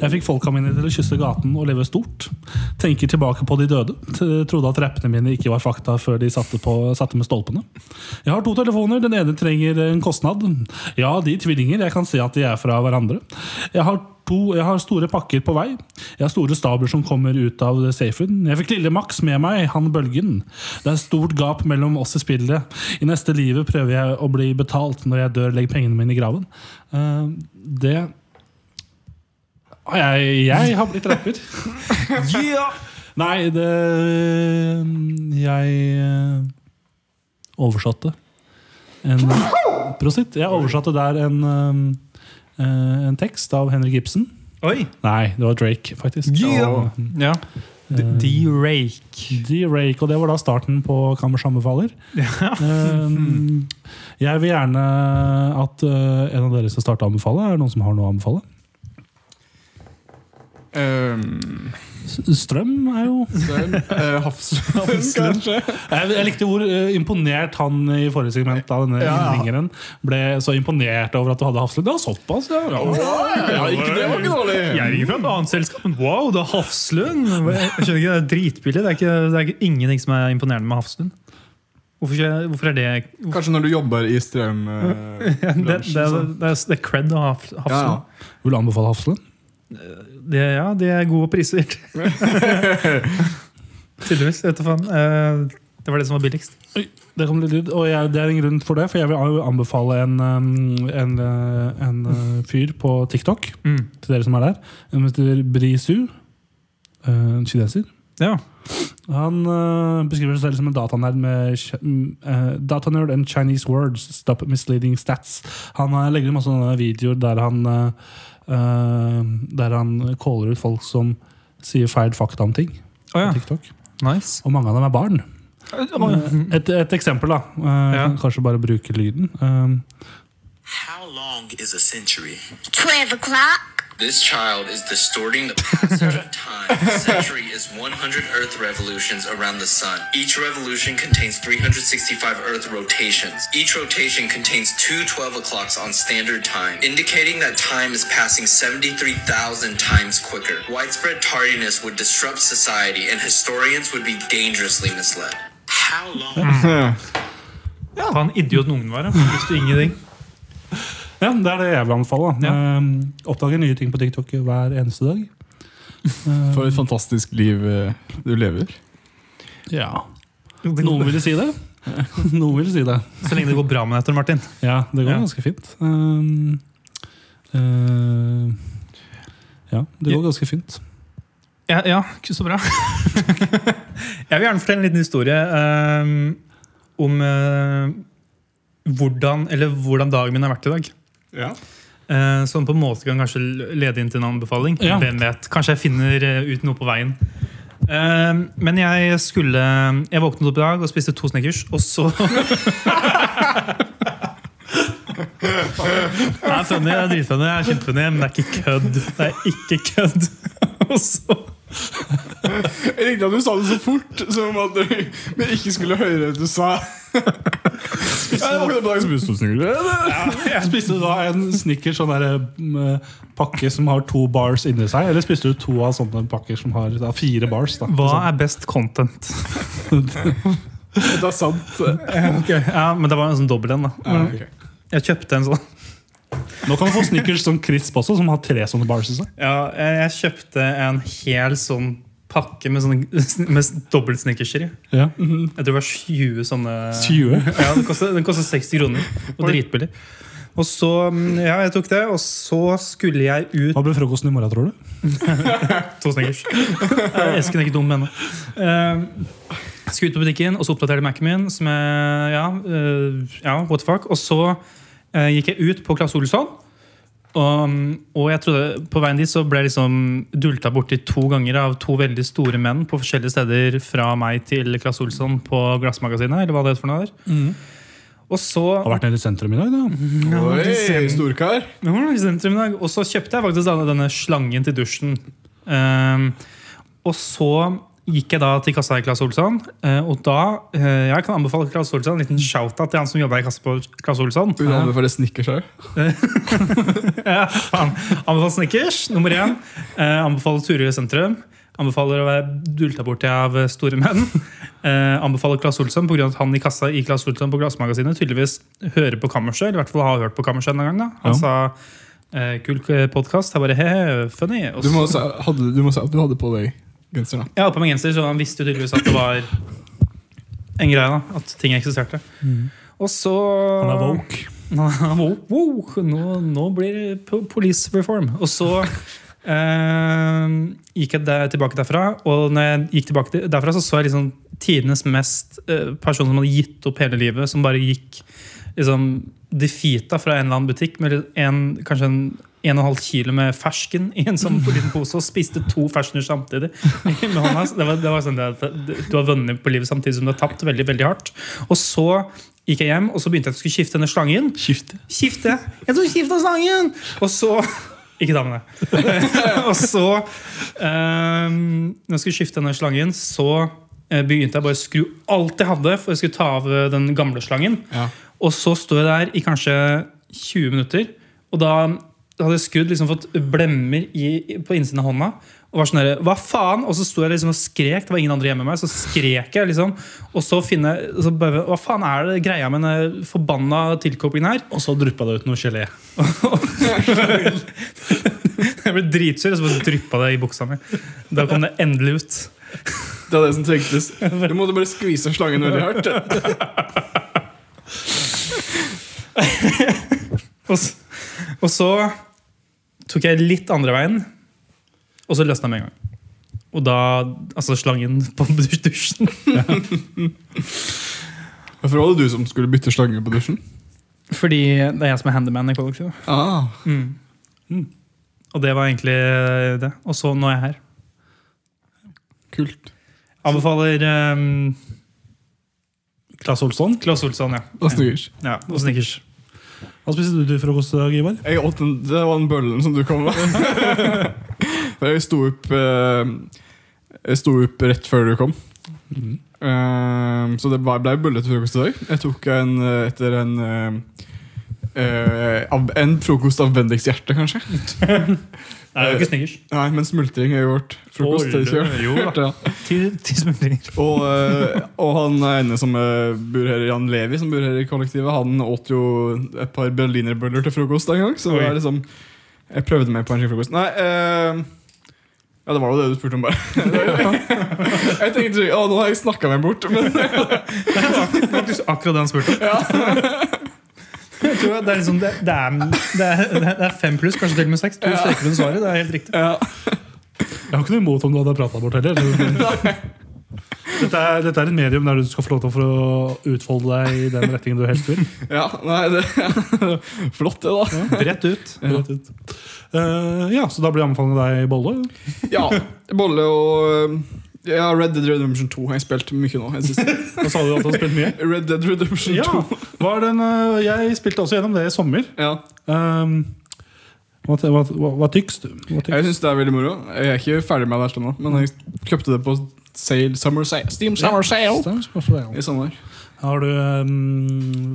Jeg fikk folka mine til å kysse gaten og leve stort. Tenker tilbake på de døde. T- Trodde at rappene mine ikke var fakta før de satte, på, satte med stolpene. Jeg har to telefoner. Den ene trenger en kostnad. Ja, de tvillinger. Jeg kan se at de er fra hverandre. Jeg har to, jeg har store pakker på vei. Jeg har store stabler som kommer ut av safen. Jeg fikk lille Max med meg, han bølgen. Det er stort gap mellom oss i spillet. I neste livet prøver jeg å bli betalt. Når jeg dør, legger pengene mine i graven. Eh, det Ah, jeg, jeg har blitt rapper. Nei, det Jeg eh, oversatte en Prosit. Jeg oversatte der en, eh, eh, en tekst av Henrik Ibsen. Oi! Nei, det var Drake, faktisk. Ja. ja. D-Rake. D-Rake, og det var da starten på Kammers anbefaler. Eh, jeg vil gjerne at eh, en av dere skal starte å anbefale. Er det noen som har noe å anbefale? Um, S- Strøm er jo Søren, eh, Hafslund, Hafslund. kanskje? Jeg, jeg likte hvor eh, imponert han i forrige segment av denne Ja. ringeren ble så imponert over at du hadde Hafslund. Det var såpass, ja. ja. Ja, ikke det var ikke dårlig! Jeg ringer fra et annet selskap, men wow, det er Hafslund! Mm. Jeg skjønner ikke, Det er dritbillig. Det er, ikke, det er ikke ingenting som er imponerende med Hafslund. Hvorfor, ikke- hvorfor er det hvorfor, Kanskje når du jobber i strøm... eh, det, det, bransjen, det, så- det, er cred å ha Haf- Ja, ja. Hafslund. Vil du anbefale Hafslund? Det, ja, de er gode priser. Tydeligvis. Vet du faen. Eh, Det var det som var billigst. Oi, det kom litt lyd, og jeg, det er en grunn for det. For jeg vil anbefale en, um, en, uh, en uh, fyr på TikTok Mm. til dere som er der. Han heter Brisu. uh, En kineser. Ja. Han uh, beskriver seg selv som en datanerd med ch- mm, uh, Datanerd and Chinese words. Stop misleading stats. Han uh, legger ut masse sånne videoer der han uh, uh, Der han caller ut folk som sier feil fakta om ting. Å ja. På TikTok. Nice. Og mange av dem er barn. Eh, Et, et eksempel, da. Eh, Ja. kan Kanskje bare bruke lyden. Eh, How long is a century? 12 o'clock. This child is distorting the passage of time. A century is 100 Earth revolutions around the sun. Each revolution contains 365 Earth rotations. Each rotation contains two 12 o'clocks on standard time, indicating that time is passing 73,000 times quicker. Widespread tardiness would disrupt society, and historians would be dangerously misled. How long? Faen, idiot den ungen var. da. Visste ingenting. Ja, det er det jeg vil anbefale. da. Ehm, oppdager nye ting på TikTok hver eneste dag. For et fantastisk liv eh, du lever. Ja. Noen ville si det. Noen ville si det. Så lenge det går bra med deg, Tor Martin. Ja, det går Ja. ganske fint. Ehm, eh, ja, det går ganske fint. Ja, ja ikke så bra. jeg vil gjerne fortelle en liten historie ehm, om eh, hvordan, eller hvordan dagen min har vært i dag. Ja. Eh, som på en måte kan kanskje lede inn til en anbefaling. Ja. Hvem vet, Kanskje jeg finner eh, ut noe på veien. Eh, men jeg skulle Jeg våknet opp i dag og spiste to Snickers, og så Det er funny, det er dritfunny, det er kjempefunny, men det er ikke kødd. Det er ikke kødd. Og så Jeg likte at du sa det så fort, som om at du men ikke skulle høre det du sa. Jeg våknet på dagens bussdosen. Spiste du da en Snickers sånn der, mm, eh, pakke som har to bars inni seg? Eller spiste du to av sånne pakker som har da, fire bars? da? Hva er best content? Det er sant. Ja, men det var en sånn dobbel en, da. Ja, ok. Jeg kjøpte en sånn. Nå kan du få Snickers som crisp også, som har tre sånne bars i seg. Ja, jeg jeg kjøpte en hel sånn pakke med, sånne, med dobbelt snickerser i. Ja. Jeg tror det var 20 sånne 20. Ja, Den kostet, den kostet 60 kroner. Og dritbillig. Og så mm, Ja, jeg tok det, og så skulle jeg ut Hva blir frokosten i morgen, tror du? To snickers. Eh, Esken er ikke dum ennå. Eh, Skulle ut på butikken, og så oppdaterte jeg Mac-en min. Som jeg, ja, eh, ja, what the fuck Og så eh, gikk jeg ut på Claes Olsson. Og, og jeg trodde på veien dit så ble jeg liksom dulta borti to ganger av to veldig store menn på forskjellige steder fra meg til Claes Olsson på Glassmagasinet. Eller hva det heter for noe der. Og så Har vært nede i sentrum i dag, da. Oi, storkar. det var noe i sentrum i dag. Og så kjøpte jeg faktisk denne, denne slangen til dusjen. Ehm, og så gikk jeg da til kassa i Claes Olsson. eh, og da eh, Jeg kan anbefale Claes Olsson en liten shout-out til han som jobba i kassa på Claes Olsson. Du hadde for det snickers her. Ja, faen. Anbefaler Snickers, nummer én. Eh, anbefaler turer i sentrum. Anbefaler å være dulta borti av eh, store menn. Eh, anbefaler Claes Olsson pga. at han i kassa i Claes Olsson på Glassmagasinet tydeligvis hører på Kammerset. Eller i hvert fall har hørt på Kammerset en gang. da Han Ja. sa eh, 'kul podkast'. Jeg bare he-he, funny. Og Du må, så- si, hadde, du må si at du hadde på deg genseren. da. Jeg hadde på meg genser, så han visste jo tydeligvis at det var en greie. da At ting eksisterte. Og så Mm. Han er woke. Wow, wow, nå, nå blir det po- police reform. Og så eh, gikk jeg der, tilbake derfra, og når jeg gikk tilbake til- derfra, så så jeg liksom tidenes mest eh, person som hadde gitt opp hele livet, som bare gikk liksom defeata fra en eller annen butikk med en, kanskje en en og en halv kilo med fersken i en sånn liten pose og spiste to ferskner samtidig. med hånda. Så Det var, det var sånn det, at Du har vunnet på livet samtidig som du har tapt veldig veldig hardt. Og så gikk jeg hjem og så begynte jeg at jeg skulle skifte denne slangen. Skifte. Skifte! Jeg tok skifte av slangen! Og så Ikke ta med det. og så ehm, Når jeg skulle skifte denne slangen, så eh, begynte jeg bare å skru alt jeg hadde, for jeg skulle ta av eh, den gamle slangen. Ja. Og så står jeg der i kanskje 20 minutter, og da hadde jeg skrudd liksom fått blemmer i, på innsiden av hånda. Og var sånn der, hva faen? Og så sto jeg liksom og skrek. Det var ingen andre hjemme med meg. Så skrek jeg liksom Og så finner jeg så bare, Hva faen er det greia med den forbanna tilkoblingen her? Og så dryppa det ut noe gelé. Jeg ble dritsur, og så bare dryppa det i buksa mi. Da kom det endelig ut. Det er det som trengtes. Du måtte bare skvise slangen veldig hardt. Og så, og så tok jeg litt andre veien, og så løsna jeg med en gang. Og da Altså slangen på dus- dusjen. Hvorfor var det du som skulle bytte slange på dusjen? Fordi det er jeg som er handyman i kollektivet. Ah. Og det var egentlig det. Og så nå er jeg her. Kult. Anbefaler um, Klasse Olsson. Claes Olsson, ja. Og snickers. ja. Og Snickers. Hva spiste du til frokost i dag, Ivar? Jeg åt den, det var den bøllen som du kom med. For jeg sto opp eh, Jeg sto opp rett før du kom. Eh, så det ble ble bølle til frokost i dag. Jeg tok en eh, etter en eh, eh, av- En frokost av Bendiks hjerte, kanskje. Det er jo ikke snickers. Nei, men smultring er jo vårt frokost. Åh, det er ikke jo vårt, ja. Ti, ti smultringer. Og, eh, og han ene som eh, bor her, Jan Levi, som bor her i kollektivet, han åt jo et par berlinerbøller til frokost en gang. Så Oi. det er liksom Jeg prøvde meg på en slik frokost. Nei, eh, ja, det var jo det du spurte om, bare. jeg tenkte ikke, å, nå har jeg snakka meg bort. Men Faktisk akkurat det han spurte om. Jeg tror Det er, liksom, det, det, er, det, er, det er fem pluss, kanskje til og med seks. To streker under svaret. Det er helt riktig. Jeg har ikke noe imot om du hadde prata bort heller. Dette er, dette er et medium der du skal få lov til for å utfolde deg i den retningen du helst vil. ja, nei, det Flott, det, da. Rett ut. Rett ut. Eh, ja, så da blir anbefalingen deg bolle. Ja, Bolle og eh, ja, Red Dead Redemption 2 har jeg spilt mye nå. Jeg synes. Da sa du at du har spilt mye. Red Dead Redemption 2. Ja, var den, eh, jeg spilte også gjennom det i sommer. Ja. Um, hva, hva, hva, hva tykkes du? Hva tykkes- Jeg syns det er veldig moro. Jeg er ikke ferdig med det helt ennå, men jeg kjøpte det på sale, summer sale, Steam Summer Sale Stemmer, kanskje det, ja. i sommer. Har du um,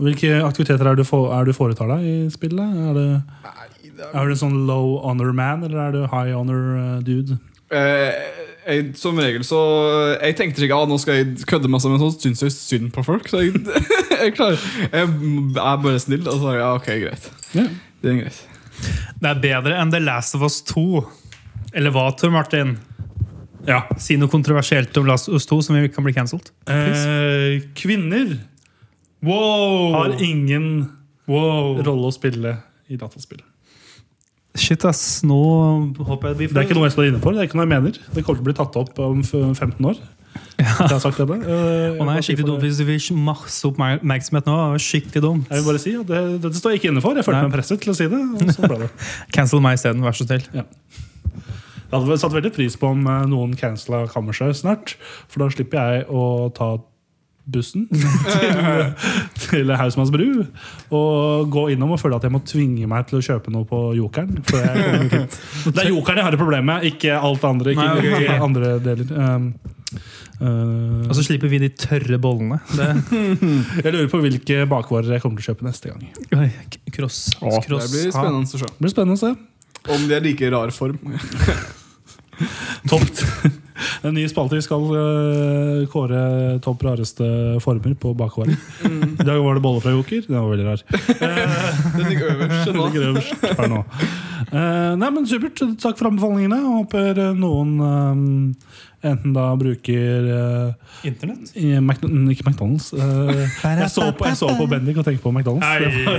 Hvilke aktiviteter er du, for, er du foretar deg i spillet? Er du, er du en sånn low honor man, eller er du high honor eh, dude? Eh, jeg, som regel så Jeg tenkte ikke at nå skal jeg kødde masse, men så syns jeg synd på folk. Så jeg, jeg klarer Jeg er bare snill. Og så ja, ok, greit. Ja. Det er greit. Det er bedre enn The Last of Us 2. Eller hva, Tor Martin? Ja, Si noe kontroversielt om Last of Us 2, som vi kan bli cancelled. Eh, kvinner har Wow! ingen wow. rolle å spille i dataspill. Shit, ass. Nå håper jeg vi Det er ikke noe jeg står inne for. Det er ikke noe jeg mener. Det kommer til å bli tatt opp om f- 15 år. Jeg har sagt det. Eh, jeg Å nei, bare sier skikkelig for dumt det. hvis du fikk masse oppmerksomhet nå. det var Skikkelig dumt. Jeg vil bare si at det, Dette står jeg ikke inne for. Jeg følte Nei. meg presset til å si det. Og så ble det. Cancel meg isteden, vær så snill. Jeg hadde vel satt veldig pris på om eh, noen cancela Kammerset snart. For da slipper jeg å ta bussen til, til Hausmanns bru og gå innom og føle at jeg må tvinge meg til å kjøpe noe på Jokeren. før jeg kommer hit. Det er Jokeren jeg har et problem med, ikke alt det andre. Ikke, Nei, ok, ok. ikke andre deler. Um, eh, Og så slipper vi de tørre bollene. Det, jeg lurer på hvilke bakvarer jeg kommer til å kjøpe neste gang. Det oi, k- cross, Det cross blir ha. spennende å se. blir spennende å se. Om de er like i rar form. Topp. En ny spalte. Vi skal eh, kåre topp rareste former på bakvarer. I dag var det bolle fra Joker. Den var veldig rar. Den ligger øverst Den nå. ligger øverst her nå. Eh, nei, men Supert. Takk for anbefalingene. Jeg Håper eh, noen eh, enten da bruker eh, Internett? i Mc, Ikke McDonald's. Eh, jeg, så på, jeg så på Bendik og tenkte på McDonald's. Det var-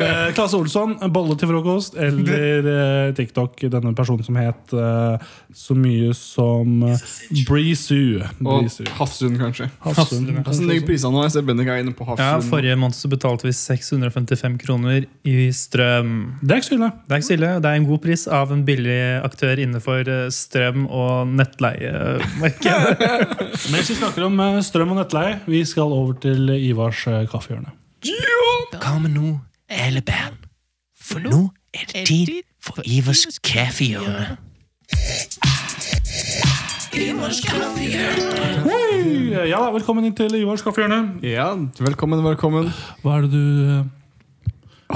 Eh, Klasse Olsson, bolle til frokost, eller eh, TikTok, denne personen som het eh, så mye som eh, Breezu. Og Breezu. Hafsund, kanskje. Altså, Hafsund. Hafsund, ja. Hvordan ligger prisene nå? Jeg ser Bendik er inne på Ja, Hafsund. Forrige måned så betalte vi 655 kroner i strøm. Det er ikke så ille. Det er ikke så ille. Det er en god pris av en billig aktør innenfor eh, strøm- og nettleiemarkedet. Mens vi snakker om eh, strøm og nettleie, vi skal over til Ivars eh, kaffehjørne. Hva med nå, alle barn? For nå er det tid for Ivers kaffehjørne. Hei! Eh, Ja, da, velkommen inn til Ivars kaffehjørne. Ja, velkommen, velkommen. Hva er det du eh,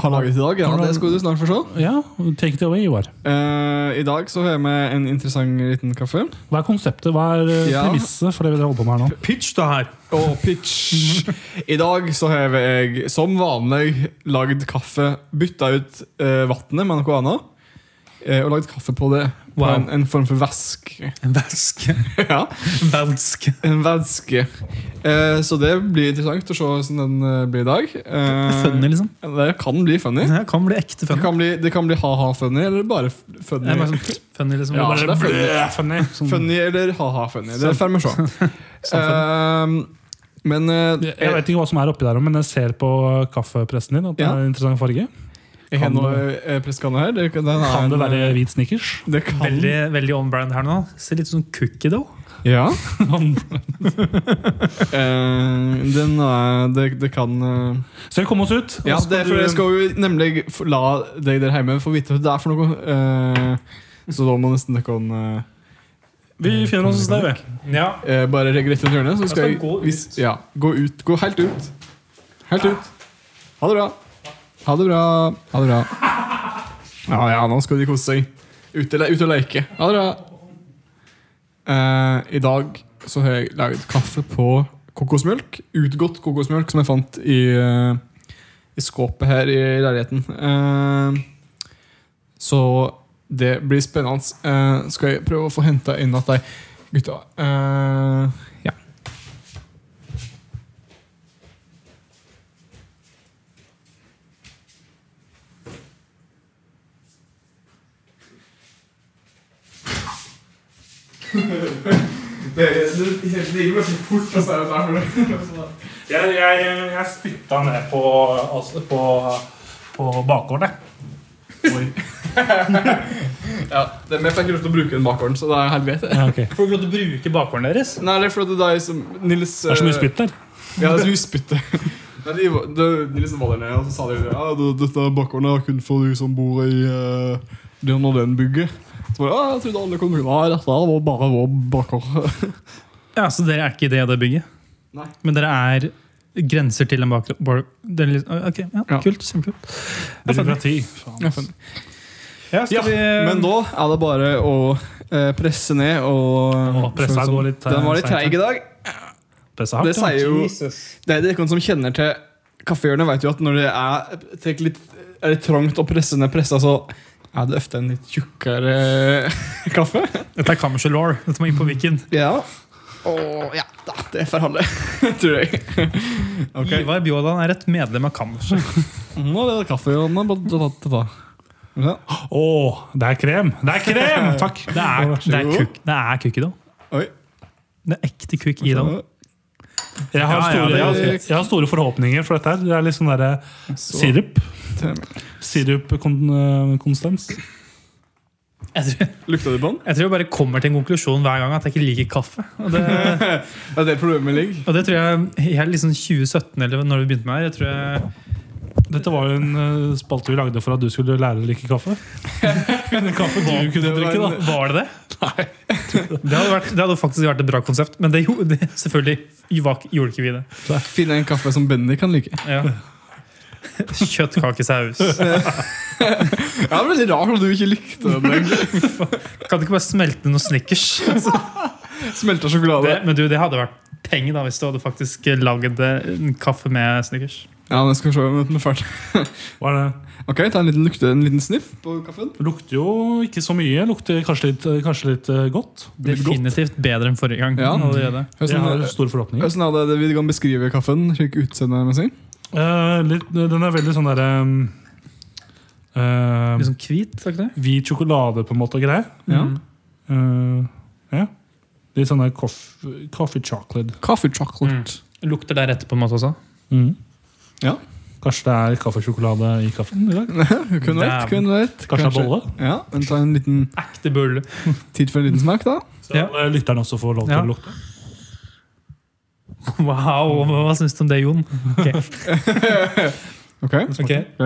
Har laget i dag? Ja, det skal du snart få se. Ja, take it away, Ivar. Eh, I dag så har jeg med en interessant liten kaffe. Hva er konseptet? Hva er eh, Ja. premisset for det vi holder på med her nå? Pitch, da her! Og pitch. I dag så har jeg som vanlig lagd kaffe. Bytta ut uh, vannet med noe annet. eh, og lagd kaffe på det. På Wow. en, en form for væske. En væske. ja, En væske. en væske. Eh, så det blir interessant å se hvordan den eh, blir i dag. Eh, Funny, liksom. Det kan bli funny. Det kan bli ekte Det funny. kan bli, det kan bli ha-ha-funny eller bare f- Det funny. er bare sånn funny, liksom. Ja, Bare- det er funny. funny. Sånn- Som, Funny eller ha-ha-funny. Det får vi se. Eh, Men eh, Jeg vet ikke hva som er oppi der, men jeg ser på eh, kaffepressen din at det Ja. er en interessant farge. Jeg har Kan noe eh, presskanne her. Det, den er Kan det en- være hvit snickers? Det kan Veldig, veldig on-brand her nå. Ser litt sånn cookie dough. Ja. Eh, den er det, det kan eh, Skal vi komme oss ut? Ja, det er for jeg skal jo nemlig f- la deg der hjemme få vite hva det er for noe. eh, så da må nesten dere eh, kan Vi finner oss et sted, vi. Ja. eh, bare legge rett rundt hjørnet. Så skal skal jeg gå ut. hvis- ja, gå ut. Gå helt ut. Helt ut. Ha det bra. Ha det bra. Ha det bra. Ja, ja, nå skal de kose seg. Ute, le- ute og leke. Ha det bra. Eh, I dag så har jeg lagd kaffe på kokosmjølk. Utgått kokosmjølk som jeg fant i, eh, i skåpet her i leiligheten. Eh, så det blir spennende. Eh, skal jeg prøve å få henta inn at de gutta eh, Ja. Det, det, det, det går så fort å si dette her. Jeg, jeg, jeg spytta ned på, altså på, på bakgården, jeg. Ja, det, men jeg fikk ikke lov til å bruke den bakgården, så det er helvete. Får du lov til å bruke bakgården deres? Nei, det er fordi det er som Nils eh, Det er så mye spytt der. Ja, det er så mye spytt Nei, de, var- det- Nils var der nede, og så sa de Ja, det- dette er bakgården her kun for du som bor i eh, den og den bygget. Så bare, ja, jeg trodde alle kom Nei, dette her var bare vår bakgård. Ja, Så dere er ikke i det, det bygget? Nei. Men dere er grenser til en bakgård? den lis- Ok, ja, Ja. kult. Kjempekult. Byråkrati. Ja, Faen. faen. Ja, skal eh, Ja, men da er det bare å eh, presse ned og Og pressa går litt, eh, Den var litt seint, treig i dag. Pressa hardt, Det ja. sier jo Det er noen som kjenner til kaffehjørnet, vet jo at når det er, tek litt, er litt trangt å presse ned pressa, så er det ofte en litt tjukkere kaffe. Dette er Kammerset Law. Dette må inn på Viken. Ja. Og ja, da, det får holde, tror jeg. Ok. Ivar Bjåland er et medlem av Kammerset. Nå er det kaffehjørnet. bare ta- ta- ta. Ja. Å, det er krem! Det er krem! Takk. Det er, det er, god. kuk, det er kuk i det. Oi. Det er ekte kuk i det. Jeg har, Ja, ja, store, det er jeg, har, greit. jeg har store forhåpninger for dette her. Det er litt sånn derre sirup. eh, Sirupkonstans. Jeg tror, Lukta det på den? jeg tror jeg bare kommer til en konklusjon hver gang at jeg ikke liker kaffe. Og det, Det er det problemet ligger. og det tror jeg helt liksom 2017, eller når vi begynte med det her jeg tror jeg, Dette var jo en eh, spalte vi lagde for at du skulle lære å drikke kaffe. kaffe du kunne var drikke, en- da. Var det det? Det hadde, vært, det hadde faktisk vært et bra konsept, men det, gjorde- det, selvfølgelig var- gjorde ikke vi det. Finne en kaffe som Benny kan like. Ja. Kjøttkakesaus. Ja, det er veldig rart at du ikke likte den. egentlig. Kan du ikke bare smelte noen Snickers? Altså, Smelta sjokolade. Det, men du, det hadde vært penger da hvis du hadde faktisk lagd en kaffe med Snickers. Ja, men jeg skal se om den er ferdig. Hva er det? Ok, ta en liten lukte, en liten sniff på kaffen. Lukter jo ikke så mye. Lukter kanskje litt, kanskje litt eh, godt. Definitivt bedre enn forrige gang. Ja. allerede. Jeg har sånn- Hvordan store forhåpninger. hvordan er det vi kan beskrive kaffen? Slik utseendemessig? Eh, litt, den er veldig sånn derre eh, Litt sånn hvit, sa ikke det? Hvit sjokolade på en måte og greier. Mm. Eh, ja. Litt sånn der coffee, coffee chocolate. Coffee chocolate. Lukter der etterpå på en måte også. Ja. Kanskje det er kaffesjokolade i kaffen i dag? Kunne vært. Kunne vært. Kanskje det er bolle? Ja, men ta en liten Ekte bull. tid for en liten smak, da. Så eh, lytteren også får lov til Ja. å lukte. Wow, hva syns du om det, Jon? Ok. Ok. Ok. Ok.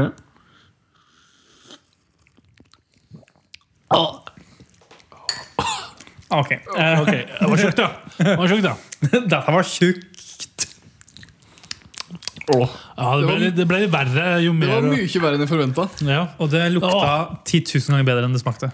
Ok. Eh, Ok, Det var tjukt, ja. Det var tjukt, ja. Dette var tjukt. ja det, ble, litt- det ble litt verre jo Det var mer mye verre enn jeg forventa. ja. Og det lukta 10 000 ganger bedre enn det smakte.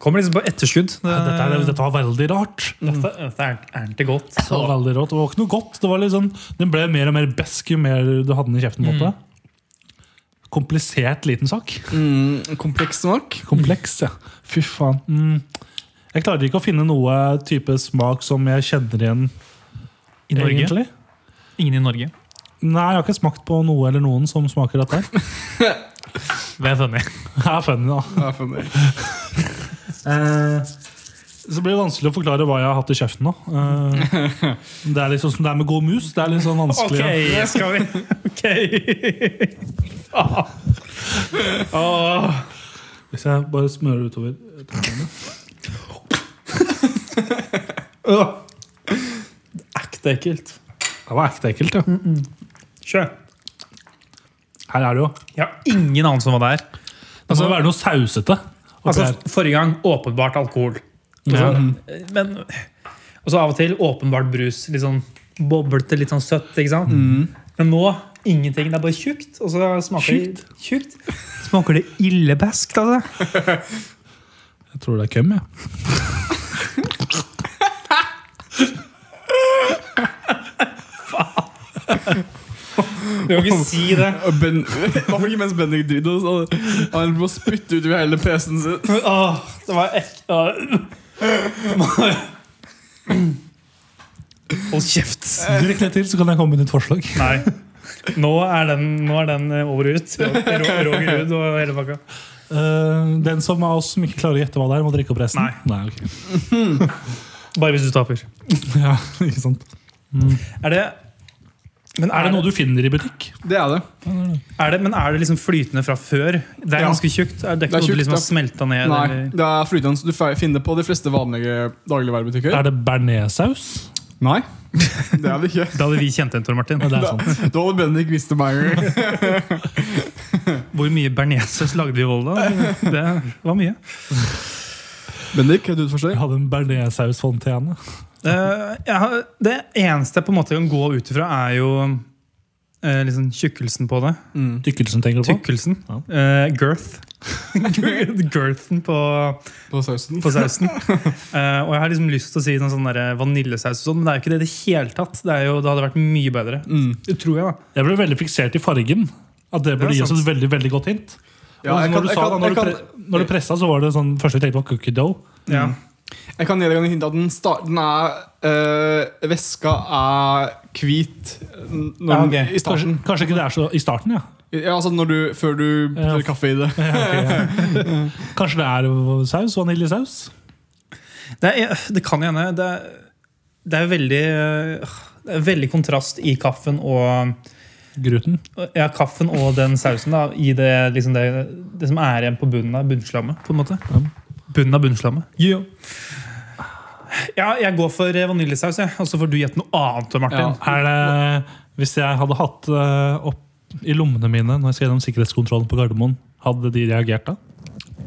Kommer liksom på etterskudd. Det, dette, er, dette var veldig rart. dette, dette er er ikke godt. Det var veldig rått. Det var ikke noe godt. Det var litt sånn, den ble mer og mer besk jo mer du hadde den i kjeften. på en måte. Komplisert liten sak. Mm, kompleks smak. Kompleks, ja. Fy faen. Mm. Jeg klarer ikke å finne noe type smak som jeg kjenner igjen. I Norge? egentlig. Ingen i Norge. Nei, jeg har ikke smakt på noe eller noen som smaker dette. her. Det er funny. Det er funny, da. Ja, funny. Så blir det vanskelig å forklare hva jeg har hatt i kjeften nå. Eh, Det er litt sånn som det er med god mus. Det er litt sånn Ok, vanskelig. skal vi Ok. Hvis jeg bare smører utover Ekte ekkelt. Det var ekte ekkelt, ja. Kjør. Her er det jo. Jeg har ingen anelse om hva det er. Det må være noe sausete. oppi Altså, her. forrige gang åpenbart alkohol. Ja. Men Og så av og til åpenbart brus. Litt sånn boblete, litt sånn søtt. ikke sant? Men nå ingenting. Det er bare tjukt. Og så smaker det tjukt. Smaker det illebesk, altså. Jeg tror det er køm, jeg. Du kan ikke si det. Ben, Hvorfor ikke mens Bendik driter? så hadde Han må spytte ut hele PC-en sin. Åh, det var ek... Åh. Hold kjeft. Drikk litt til, så kan jeg komme med nytt forslag. Nei. Nå er den, nå er den eh, over og ut. Ro- ro- Roger Ruud og hele pakka. Eh, den som av oss som ikke klarer å gjette hva det er, må drikke opp resten. Nei. ok. Bare hvis du taper. Ja, ikke sant. Er det men Er det noe du finner i butikk? Det er det. er det, men er det liksom flytende fra før? Det er Ja. ganske tjukt. Er Det er det ikke noe tjukt, du liksom har ja. smelta ned? Nei, eller- det er flytende, så du fe- finner det på de fleste vanlige dagligvarebutikker. Er det bearnéssaus? Nei, det er det ikke. Da hadde vi kjent en, Tor Martin. Ja, det er sånn. Da, sant. da hadde Bendik visst det mange ganger. Hvor mye bearnéssaus lagde vi i Volda? Det var mye. Bendik, er du ute for Jeg seg? hadde en bearnéssausfontene. Eh, jeg har, det eneste jeg på en måte kan gå ut ifra, er jo eh, liksom tjukkelsen på det. Mm. Tykkelsen, tenker du på? Tykkelsen. Ja. Eh, girth. Girthen på, På sausen? på sausen. Eh, og jeg har liksom lyst til å si noe sånn der vaniljesaus, og sånn, men det er jo ikke det i det hele tatt. Det, er jo, det hadde vært mye bedre. Det tror jeg, da. Jeg ble veldig fiksert i fargen. At det burde Det er gi oss sant. et veldig veldig godt hint. Ja, Og jeg når kan, du jeg sa kan, det, når jeg du kan, pre- når du pressa, så var det sånn første jeg tenkte var cookie dough. Ja. jeg kan gi deg en hint at den, start, den er øh, Veska er hvit n- når, Ja, den- ok. i Kanskje, starten. kanskje ikke det er så i starten, ja. Ja, altså når du, før du Ja. putter kaffe i det. Ja, ok, ja. Kanskje det er saus? Vaniljesaus? Det, er, eh, det kan hende. Det, er- det er veldig øh, det er veldig kontrast i kaffen og Gluten? Ja, kaffen og den sausen da i det, liksom det, det som er igjen på bunnen av bunnslammet. på en måte. Bunnen av bunnslammet. Ja, jeg går for eh, vaniljesaus, jeg. og så får du gjette noe annet. Martin. Ja. Er det Hvis jeg hadde hatt eh, opp i lommene mine når jeg skal gjennom sikkerhetskontrollen på Gardermoen, hadde de reagert da?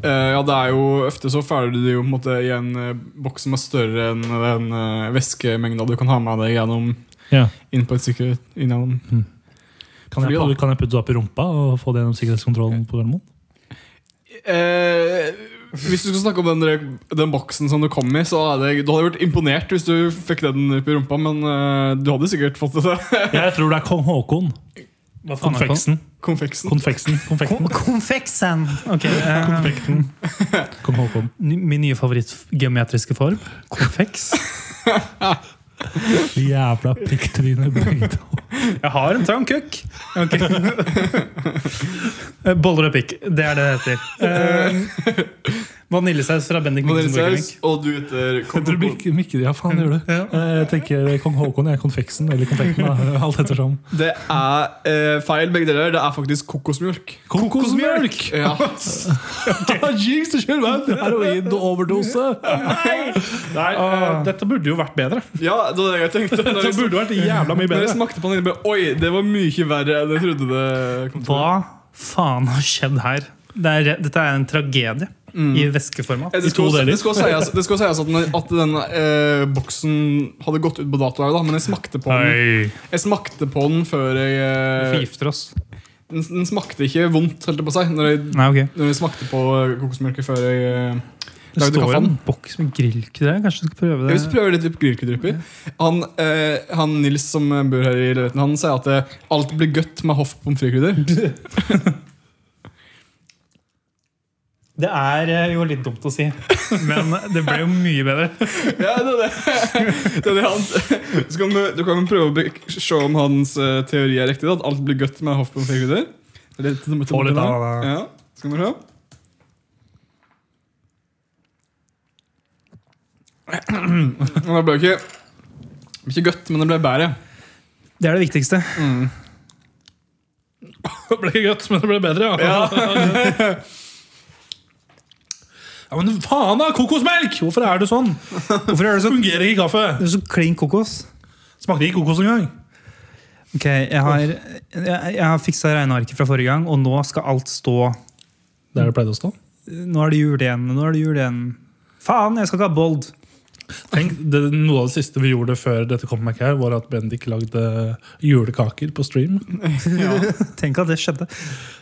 Eh, ja, det er jo Ofte så føler du det jo på en måte i en eh, boks som er større enn den eh, væskemengda du kan ha med deg gjennom Ja. inn på et sikkerhet innom. Kan, Fordi jeg, da- kan jeg putte det opp i rumpa og få det gjennom sikkerhetskontrollen på Gardermoen? Eh, hvis du skal snakke om den, der- den boksen som du kom i, så hadde jeg, du hadde vært imponert hvis du fikk den opp i rumpa, men eh, du hadde sikkert fått det til. Jeg tror det er kong Haakon. Hva faen er Konfeksen. Konfeksen. Konfeksen. Konfekten. kon- Konfeksen! Ok, eh, Kong Haakon. ny- Min nye favorittgeometriske form. Konfeks. Jævla pikktryne. begge to. Jeg har en trang kukk. Ok. Eh, Boller og pikk. Det er det det heter. Eh, Vaniljesaus fra Bendik Mikkelsen. Vaniljesaus, og du heter Jeg tror Mikke, Mikke ja faen gjør du. Ja. Eh, Jeg tenker kong Haakon er konfeksen, eller konfekten, da, alt ettersom. Det er eh, feil, begge deler. Det er faktisk kokosmjølk. Kokosmjølk! Ja. Jinx, kjør meg! Heroin-overdose! Nei, Ah. eh, dette burde jo vært bedre. ja, det var det jeg tenkte. Når Dette jeg, burde vært jævla når mye jeg bedre. smakte på den, jeg bare, oi, det var mye verre enn jeg trodde det kom til. å bli. Hva faen har skjedd her? Det er, dette er en tragedie i væskeformat. Eh, Det to skal, deler. det skal sies, det skal sies at den, at den eh, boksen hadde gått ut på dato, her da, men jeg smakte på den Oi, Jeg smakte på den før jeg vi eh, forgifter oss. den, den smakte ikke vondt, holdt jeg på å si, når jeg, Nei, ok. når jeg smakte på eh, kokosmjølket før jeg eh, Det lagde står kaffen. en boks med grillkrydder. Kanskje du skal prøve Jeg vil det? prøve litt grillkrydderuppi. Han, eh, han Nils som bor her i leiligheten, han sier at eh, alt blir godt med hoff pommes frites-krydder. Det er eh, jo litt dumt å si, men det ble jo mye bedre. ja, det er det. det, er det han, så kan du, du kan jo prøve å be- se om hans eh, teori er riktig, da, at alt blir godt med hoff pommes frites-krydder. Det er litt- det er litt- Få litt av det. Ja, skal vi se. Men Det ble ikke, det ble ikke godt, men det ble bedre. Det er det viktigste. Det ble ikke godt, men det ble bedre, ja. Ja, Men faen, da! Kokosmelk! Hvorfor er du sånn? Hvorfor er det sånn? Fungerer ikke kaffe. Det er så klin kokos. Smakte ikke kokos engang. Ok, Jeg har, jeg, jeg har fiksa regnearket fra forrige gang, og nå skal alt stå Der det pleide å stå. Nå er det jul igjen. Nå er det jul igjen. Faen, jeg skal ikke ha bold. Tenk, det, Noe av det siste vi gjorde før dette kom back her, var at Bendik lagde julekaker på stream. Tenk at det skjedde.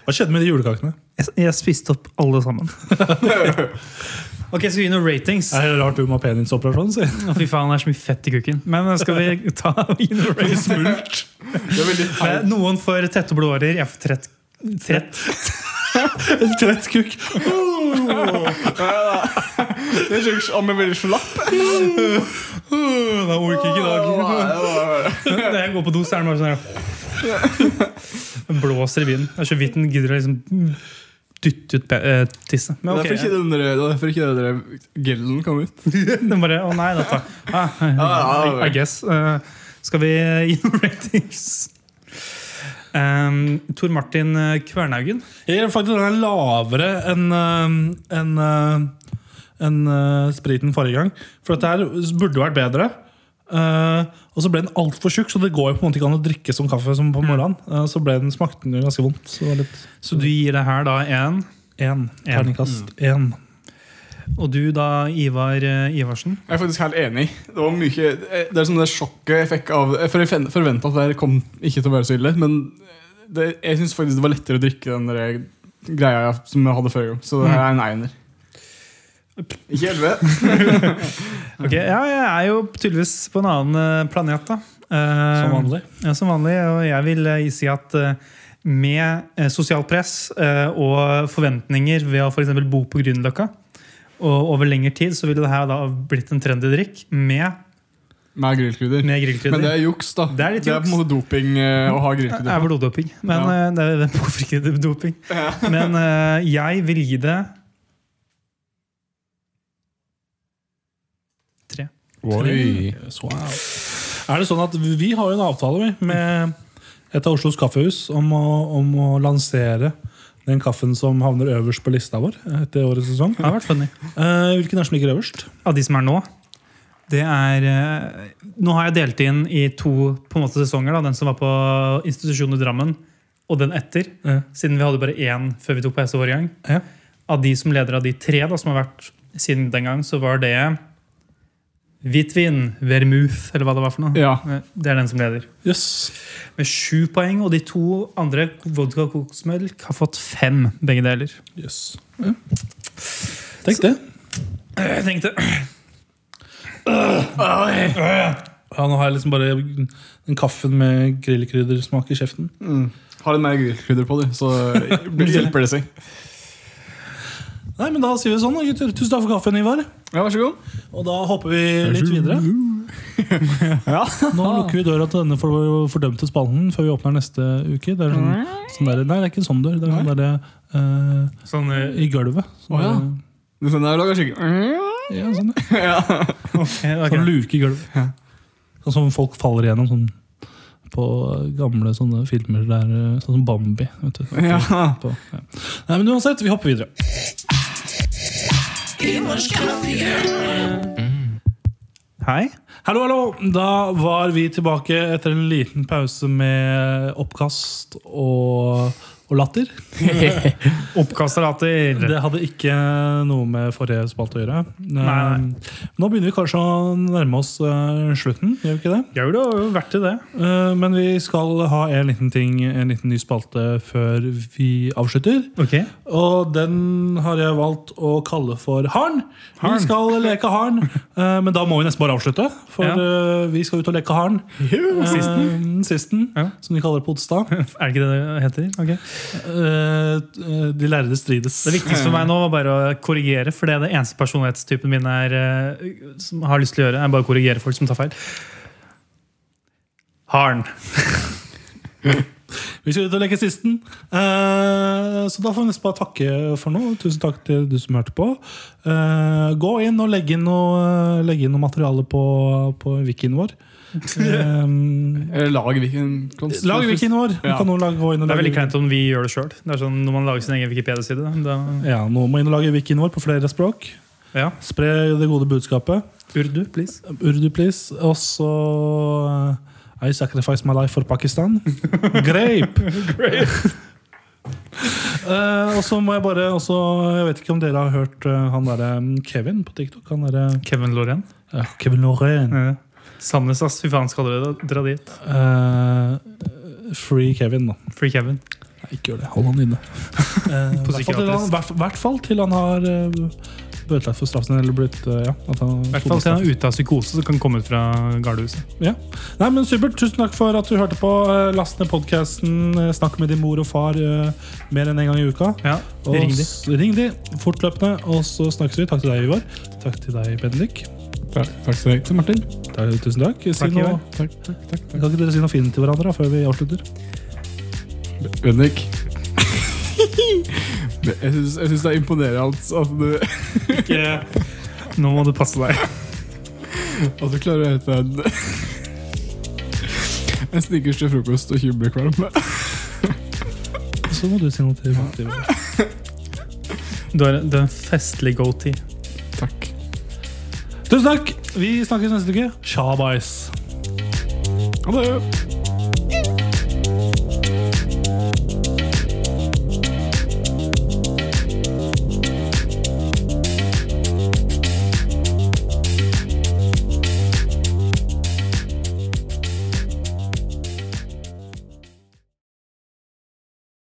Hva skjedde med de julekakene? Jeg, jeg spiste opp alle sammen. ok, Skal vi gi noen ratings? Er det rart du må ha penisoperasjon? sier jeg. Å, fy faen, det er så mye fett i kukken. Men skal vi ta gi noen ratings? Det er veldig Eh, Noen får tette blodårer. Jeg får trett. trett. En trett kukk. Det er sjukt om jeg blir slapp. Da orker ikke i dag. Når jeg går på do, så er den bare sånn her. Den Blåser i vinden. Det er så vidt den gidder å liksom dytte ut pe- eh, tisset. Men Det er ok, derfor ikke den der, det er derfor ikke den der gellen kom ut. den bare Å nei, dette. Ah, I, I guess. Eh, skal vi gi noen ratings? Um, Tor Martin eh, Kvernhaugen. Jeg er faktisk den er lavere enn eh, enn, eh, enn, eh, spriten forrige gang. For dette her burde vært bedre. Eh, og så ble den altfor tjukk, så det går jo på en måte ikke an å drikke som kaffe. som på morgenen Eh, Så ble den, smakte den jo ganske vondt. Så det var litt Så du gir det her da en én. En. Terningkast én. Og du da, Ivar eh, Ivarsen? Jeg er faktisk helt enig. Det var mye Det er sånn det sjokket jeg fikk av For jeg forventa at det her kom ikke til å være så ille, men det, jeg syns faktisk det var lettere å drikke den der greia som jeg hadde forrige gang. Så det her Mm. er en einer. Ikke elleve. Mm. Ok, Ja, jeg er jo tydeligvis på en annen eh, planet, da. Eh, Som vanlig. Ja, som vanlig. Og jeg vil eh, si at eh, med eh, sosialt press eh, og forventninger ved å for eksempel bo på Grünerløkka og over lengre tid, så ville det her da blitt en trendy drikk med, Med grillkrydder. med Men det grillkrydder. er juks, da. Det er litt på en måte doping eh, å ha Det er grillkrydder. bloddoping. Men Ja. eh, det er hvorfor ikke det er doping? Men eh, jeg vil gi det tre. Oi. Så, wow. Er det sånn at vi har jo en avtale vi, med et av Oslos kaffehus om å, om å lansere den kaffen som havner øverst på lista vår etter årets sesong. Det har vært funny. Eh, hvilken er det som ligger øverst? av de som er nå, det er eh, Nå har jeg delt inn i to på en måte, sesonger. Da. Den som var på institusjonen i Drammen, og den etter. Ja. Siden vi hadde bare én før vi tok på hest vår gang. Av de som leder av de tre da, som har vært siden den gang, så var det hvitvin, vermouth, eller hva det var for noe. Ja. Eh, Det er den som leder. Yes. Med sju poeng, og de to andre, vodka og kokosmelk, har fått fem, begge deler. yes. Ja. Tenk det. Jeg tenkte Ja, nå har jeg liksom bare den kaffen med grillkryddersmak i kjeften. Har litt mer grillkrydder på, du, så hjelper det seg. Nei, men Da sier vi sånn, da, gutter. Tusen takk for kaffen, Ivar. Ja, vær så god. Og da hopper vi litt videre. Nå lukker vi døra til denne for- fordømte spalten før vi åpner neste uke. Det er sånn, sånn der, nei, det er ikke en sånn dør. Det er sånn der, eh, sånn eh, i gulvet. Sånn Å, ja. der- Mm. Du skjønner, jeg lager skikkelig ja, sånn, ja. ok, ok. sånn luke i gulvet. Sånn som folk faller igjennom sånn, på gamle sånne filmer der, eh, sånn som Bambi. Vet du. Ja. På, ja. Nei, men uansett, vi hopper videre. Hei. Hallo, hallo! Da var vi tilbake etter en liten pause med oppkast og, og latter. Oppkasterater. Det hadde ikke noe med forrige spalte å gjøre. Nei. Um, Nå begynner vi kanskje å nærme oss uh, slutten, gjør vi ikke det? Jo, det har jo vært til det. Uh, Men vi skal ha en liten ting, en liten ny spalte før vi avslutter. Ok. Og den har jeg valgt å kalle for Harn. Harn. Vi skal leke harn, eh, men da må vi nesten bare avslutte. For Ja. eh, vi skal ut og leke harn. Sisten. Sisten, Ja. som de kaller det på Eh, onsdag. Er det ikke det det heter? Ok. Eh, De lærde strides. Det viktigste for meg nå var bare å korrigere, for det er det eneste personlighetstypen min er, eh, som har lyst til å gjøre, er bare å korrigere folk som tar feil. Harn. Vi skal ut og leke sisten. Eh, Så da får vi nesten bare takke for nå. Tusen takk til du som hørte på. Eh, Gå inn og legg inn noe, legg inn noe materiale på, på wikien vår. Eh, Eller lag hvilken konst. Lag wikien vår! Du Ja. kan nå lage- gå inn og Det er lage veldig kleint om vi gjør det sjøl. Sånn, når man lager sin egen Wikipedia-side. Da, Ja, nå må inn og lage wikien vår på flere språk. ja. Spre det gode budskapet. Urdu, please. Urdu, please. Og så eh, I sacrifice my life for Pakistan. Grape! Eh, og så må jeg bare også, Jeg vet ikke om dere har hørt eh, han derre Kevin på mm, TikTok? Han derre Kevin Loren. Ja, Kevin Lauren. Ja. Sandnes, ass. Fy faen, skal dere dra dit? Eh, free Kevin, da. Free Kevin. Nei, ikke gjør det. Hold han inne. Eh, I hvert fall til han- psykiatrisk. hvert- hvert fall til han har uh, bøtelagt for straffen sin. Eller blitt, eh, ja, at han, I hvert fall til han er ute av psykose, så kan han komme ut fra gardehuset. Ja. Nei, men Supert, tusen takk for at du hørte på. Eh, Last ned podkasten. Snakk med din mor og far eh, mer enn én en gang i uka. Ja, Og ring de. s- ring de fortløpende, og så snakkes vi. Takk til deg, Ivar. Takk til deg, Bendik. Takk, takk til deg, til Martin. Takk, Eh, tusen takk. Si Takk, noe, Ivar. Takk, takk, takk, takk. kan ikke dere si noe fint til hverandre da, før vi avslutter? Bendik. Jeg syns, jeg syns det er imponerende at du, eh, Nå må du passe deg. at du klarer å hete en En snickers til frokost og kjumlekvalm. Så må du si noe til til Ivar. Du har du har en festlig goatee. Takk. Tusen takk! Vi snakkes neste uke. Shabais. Ha det.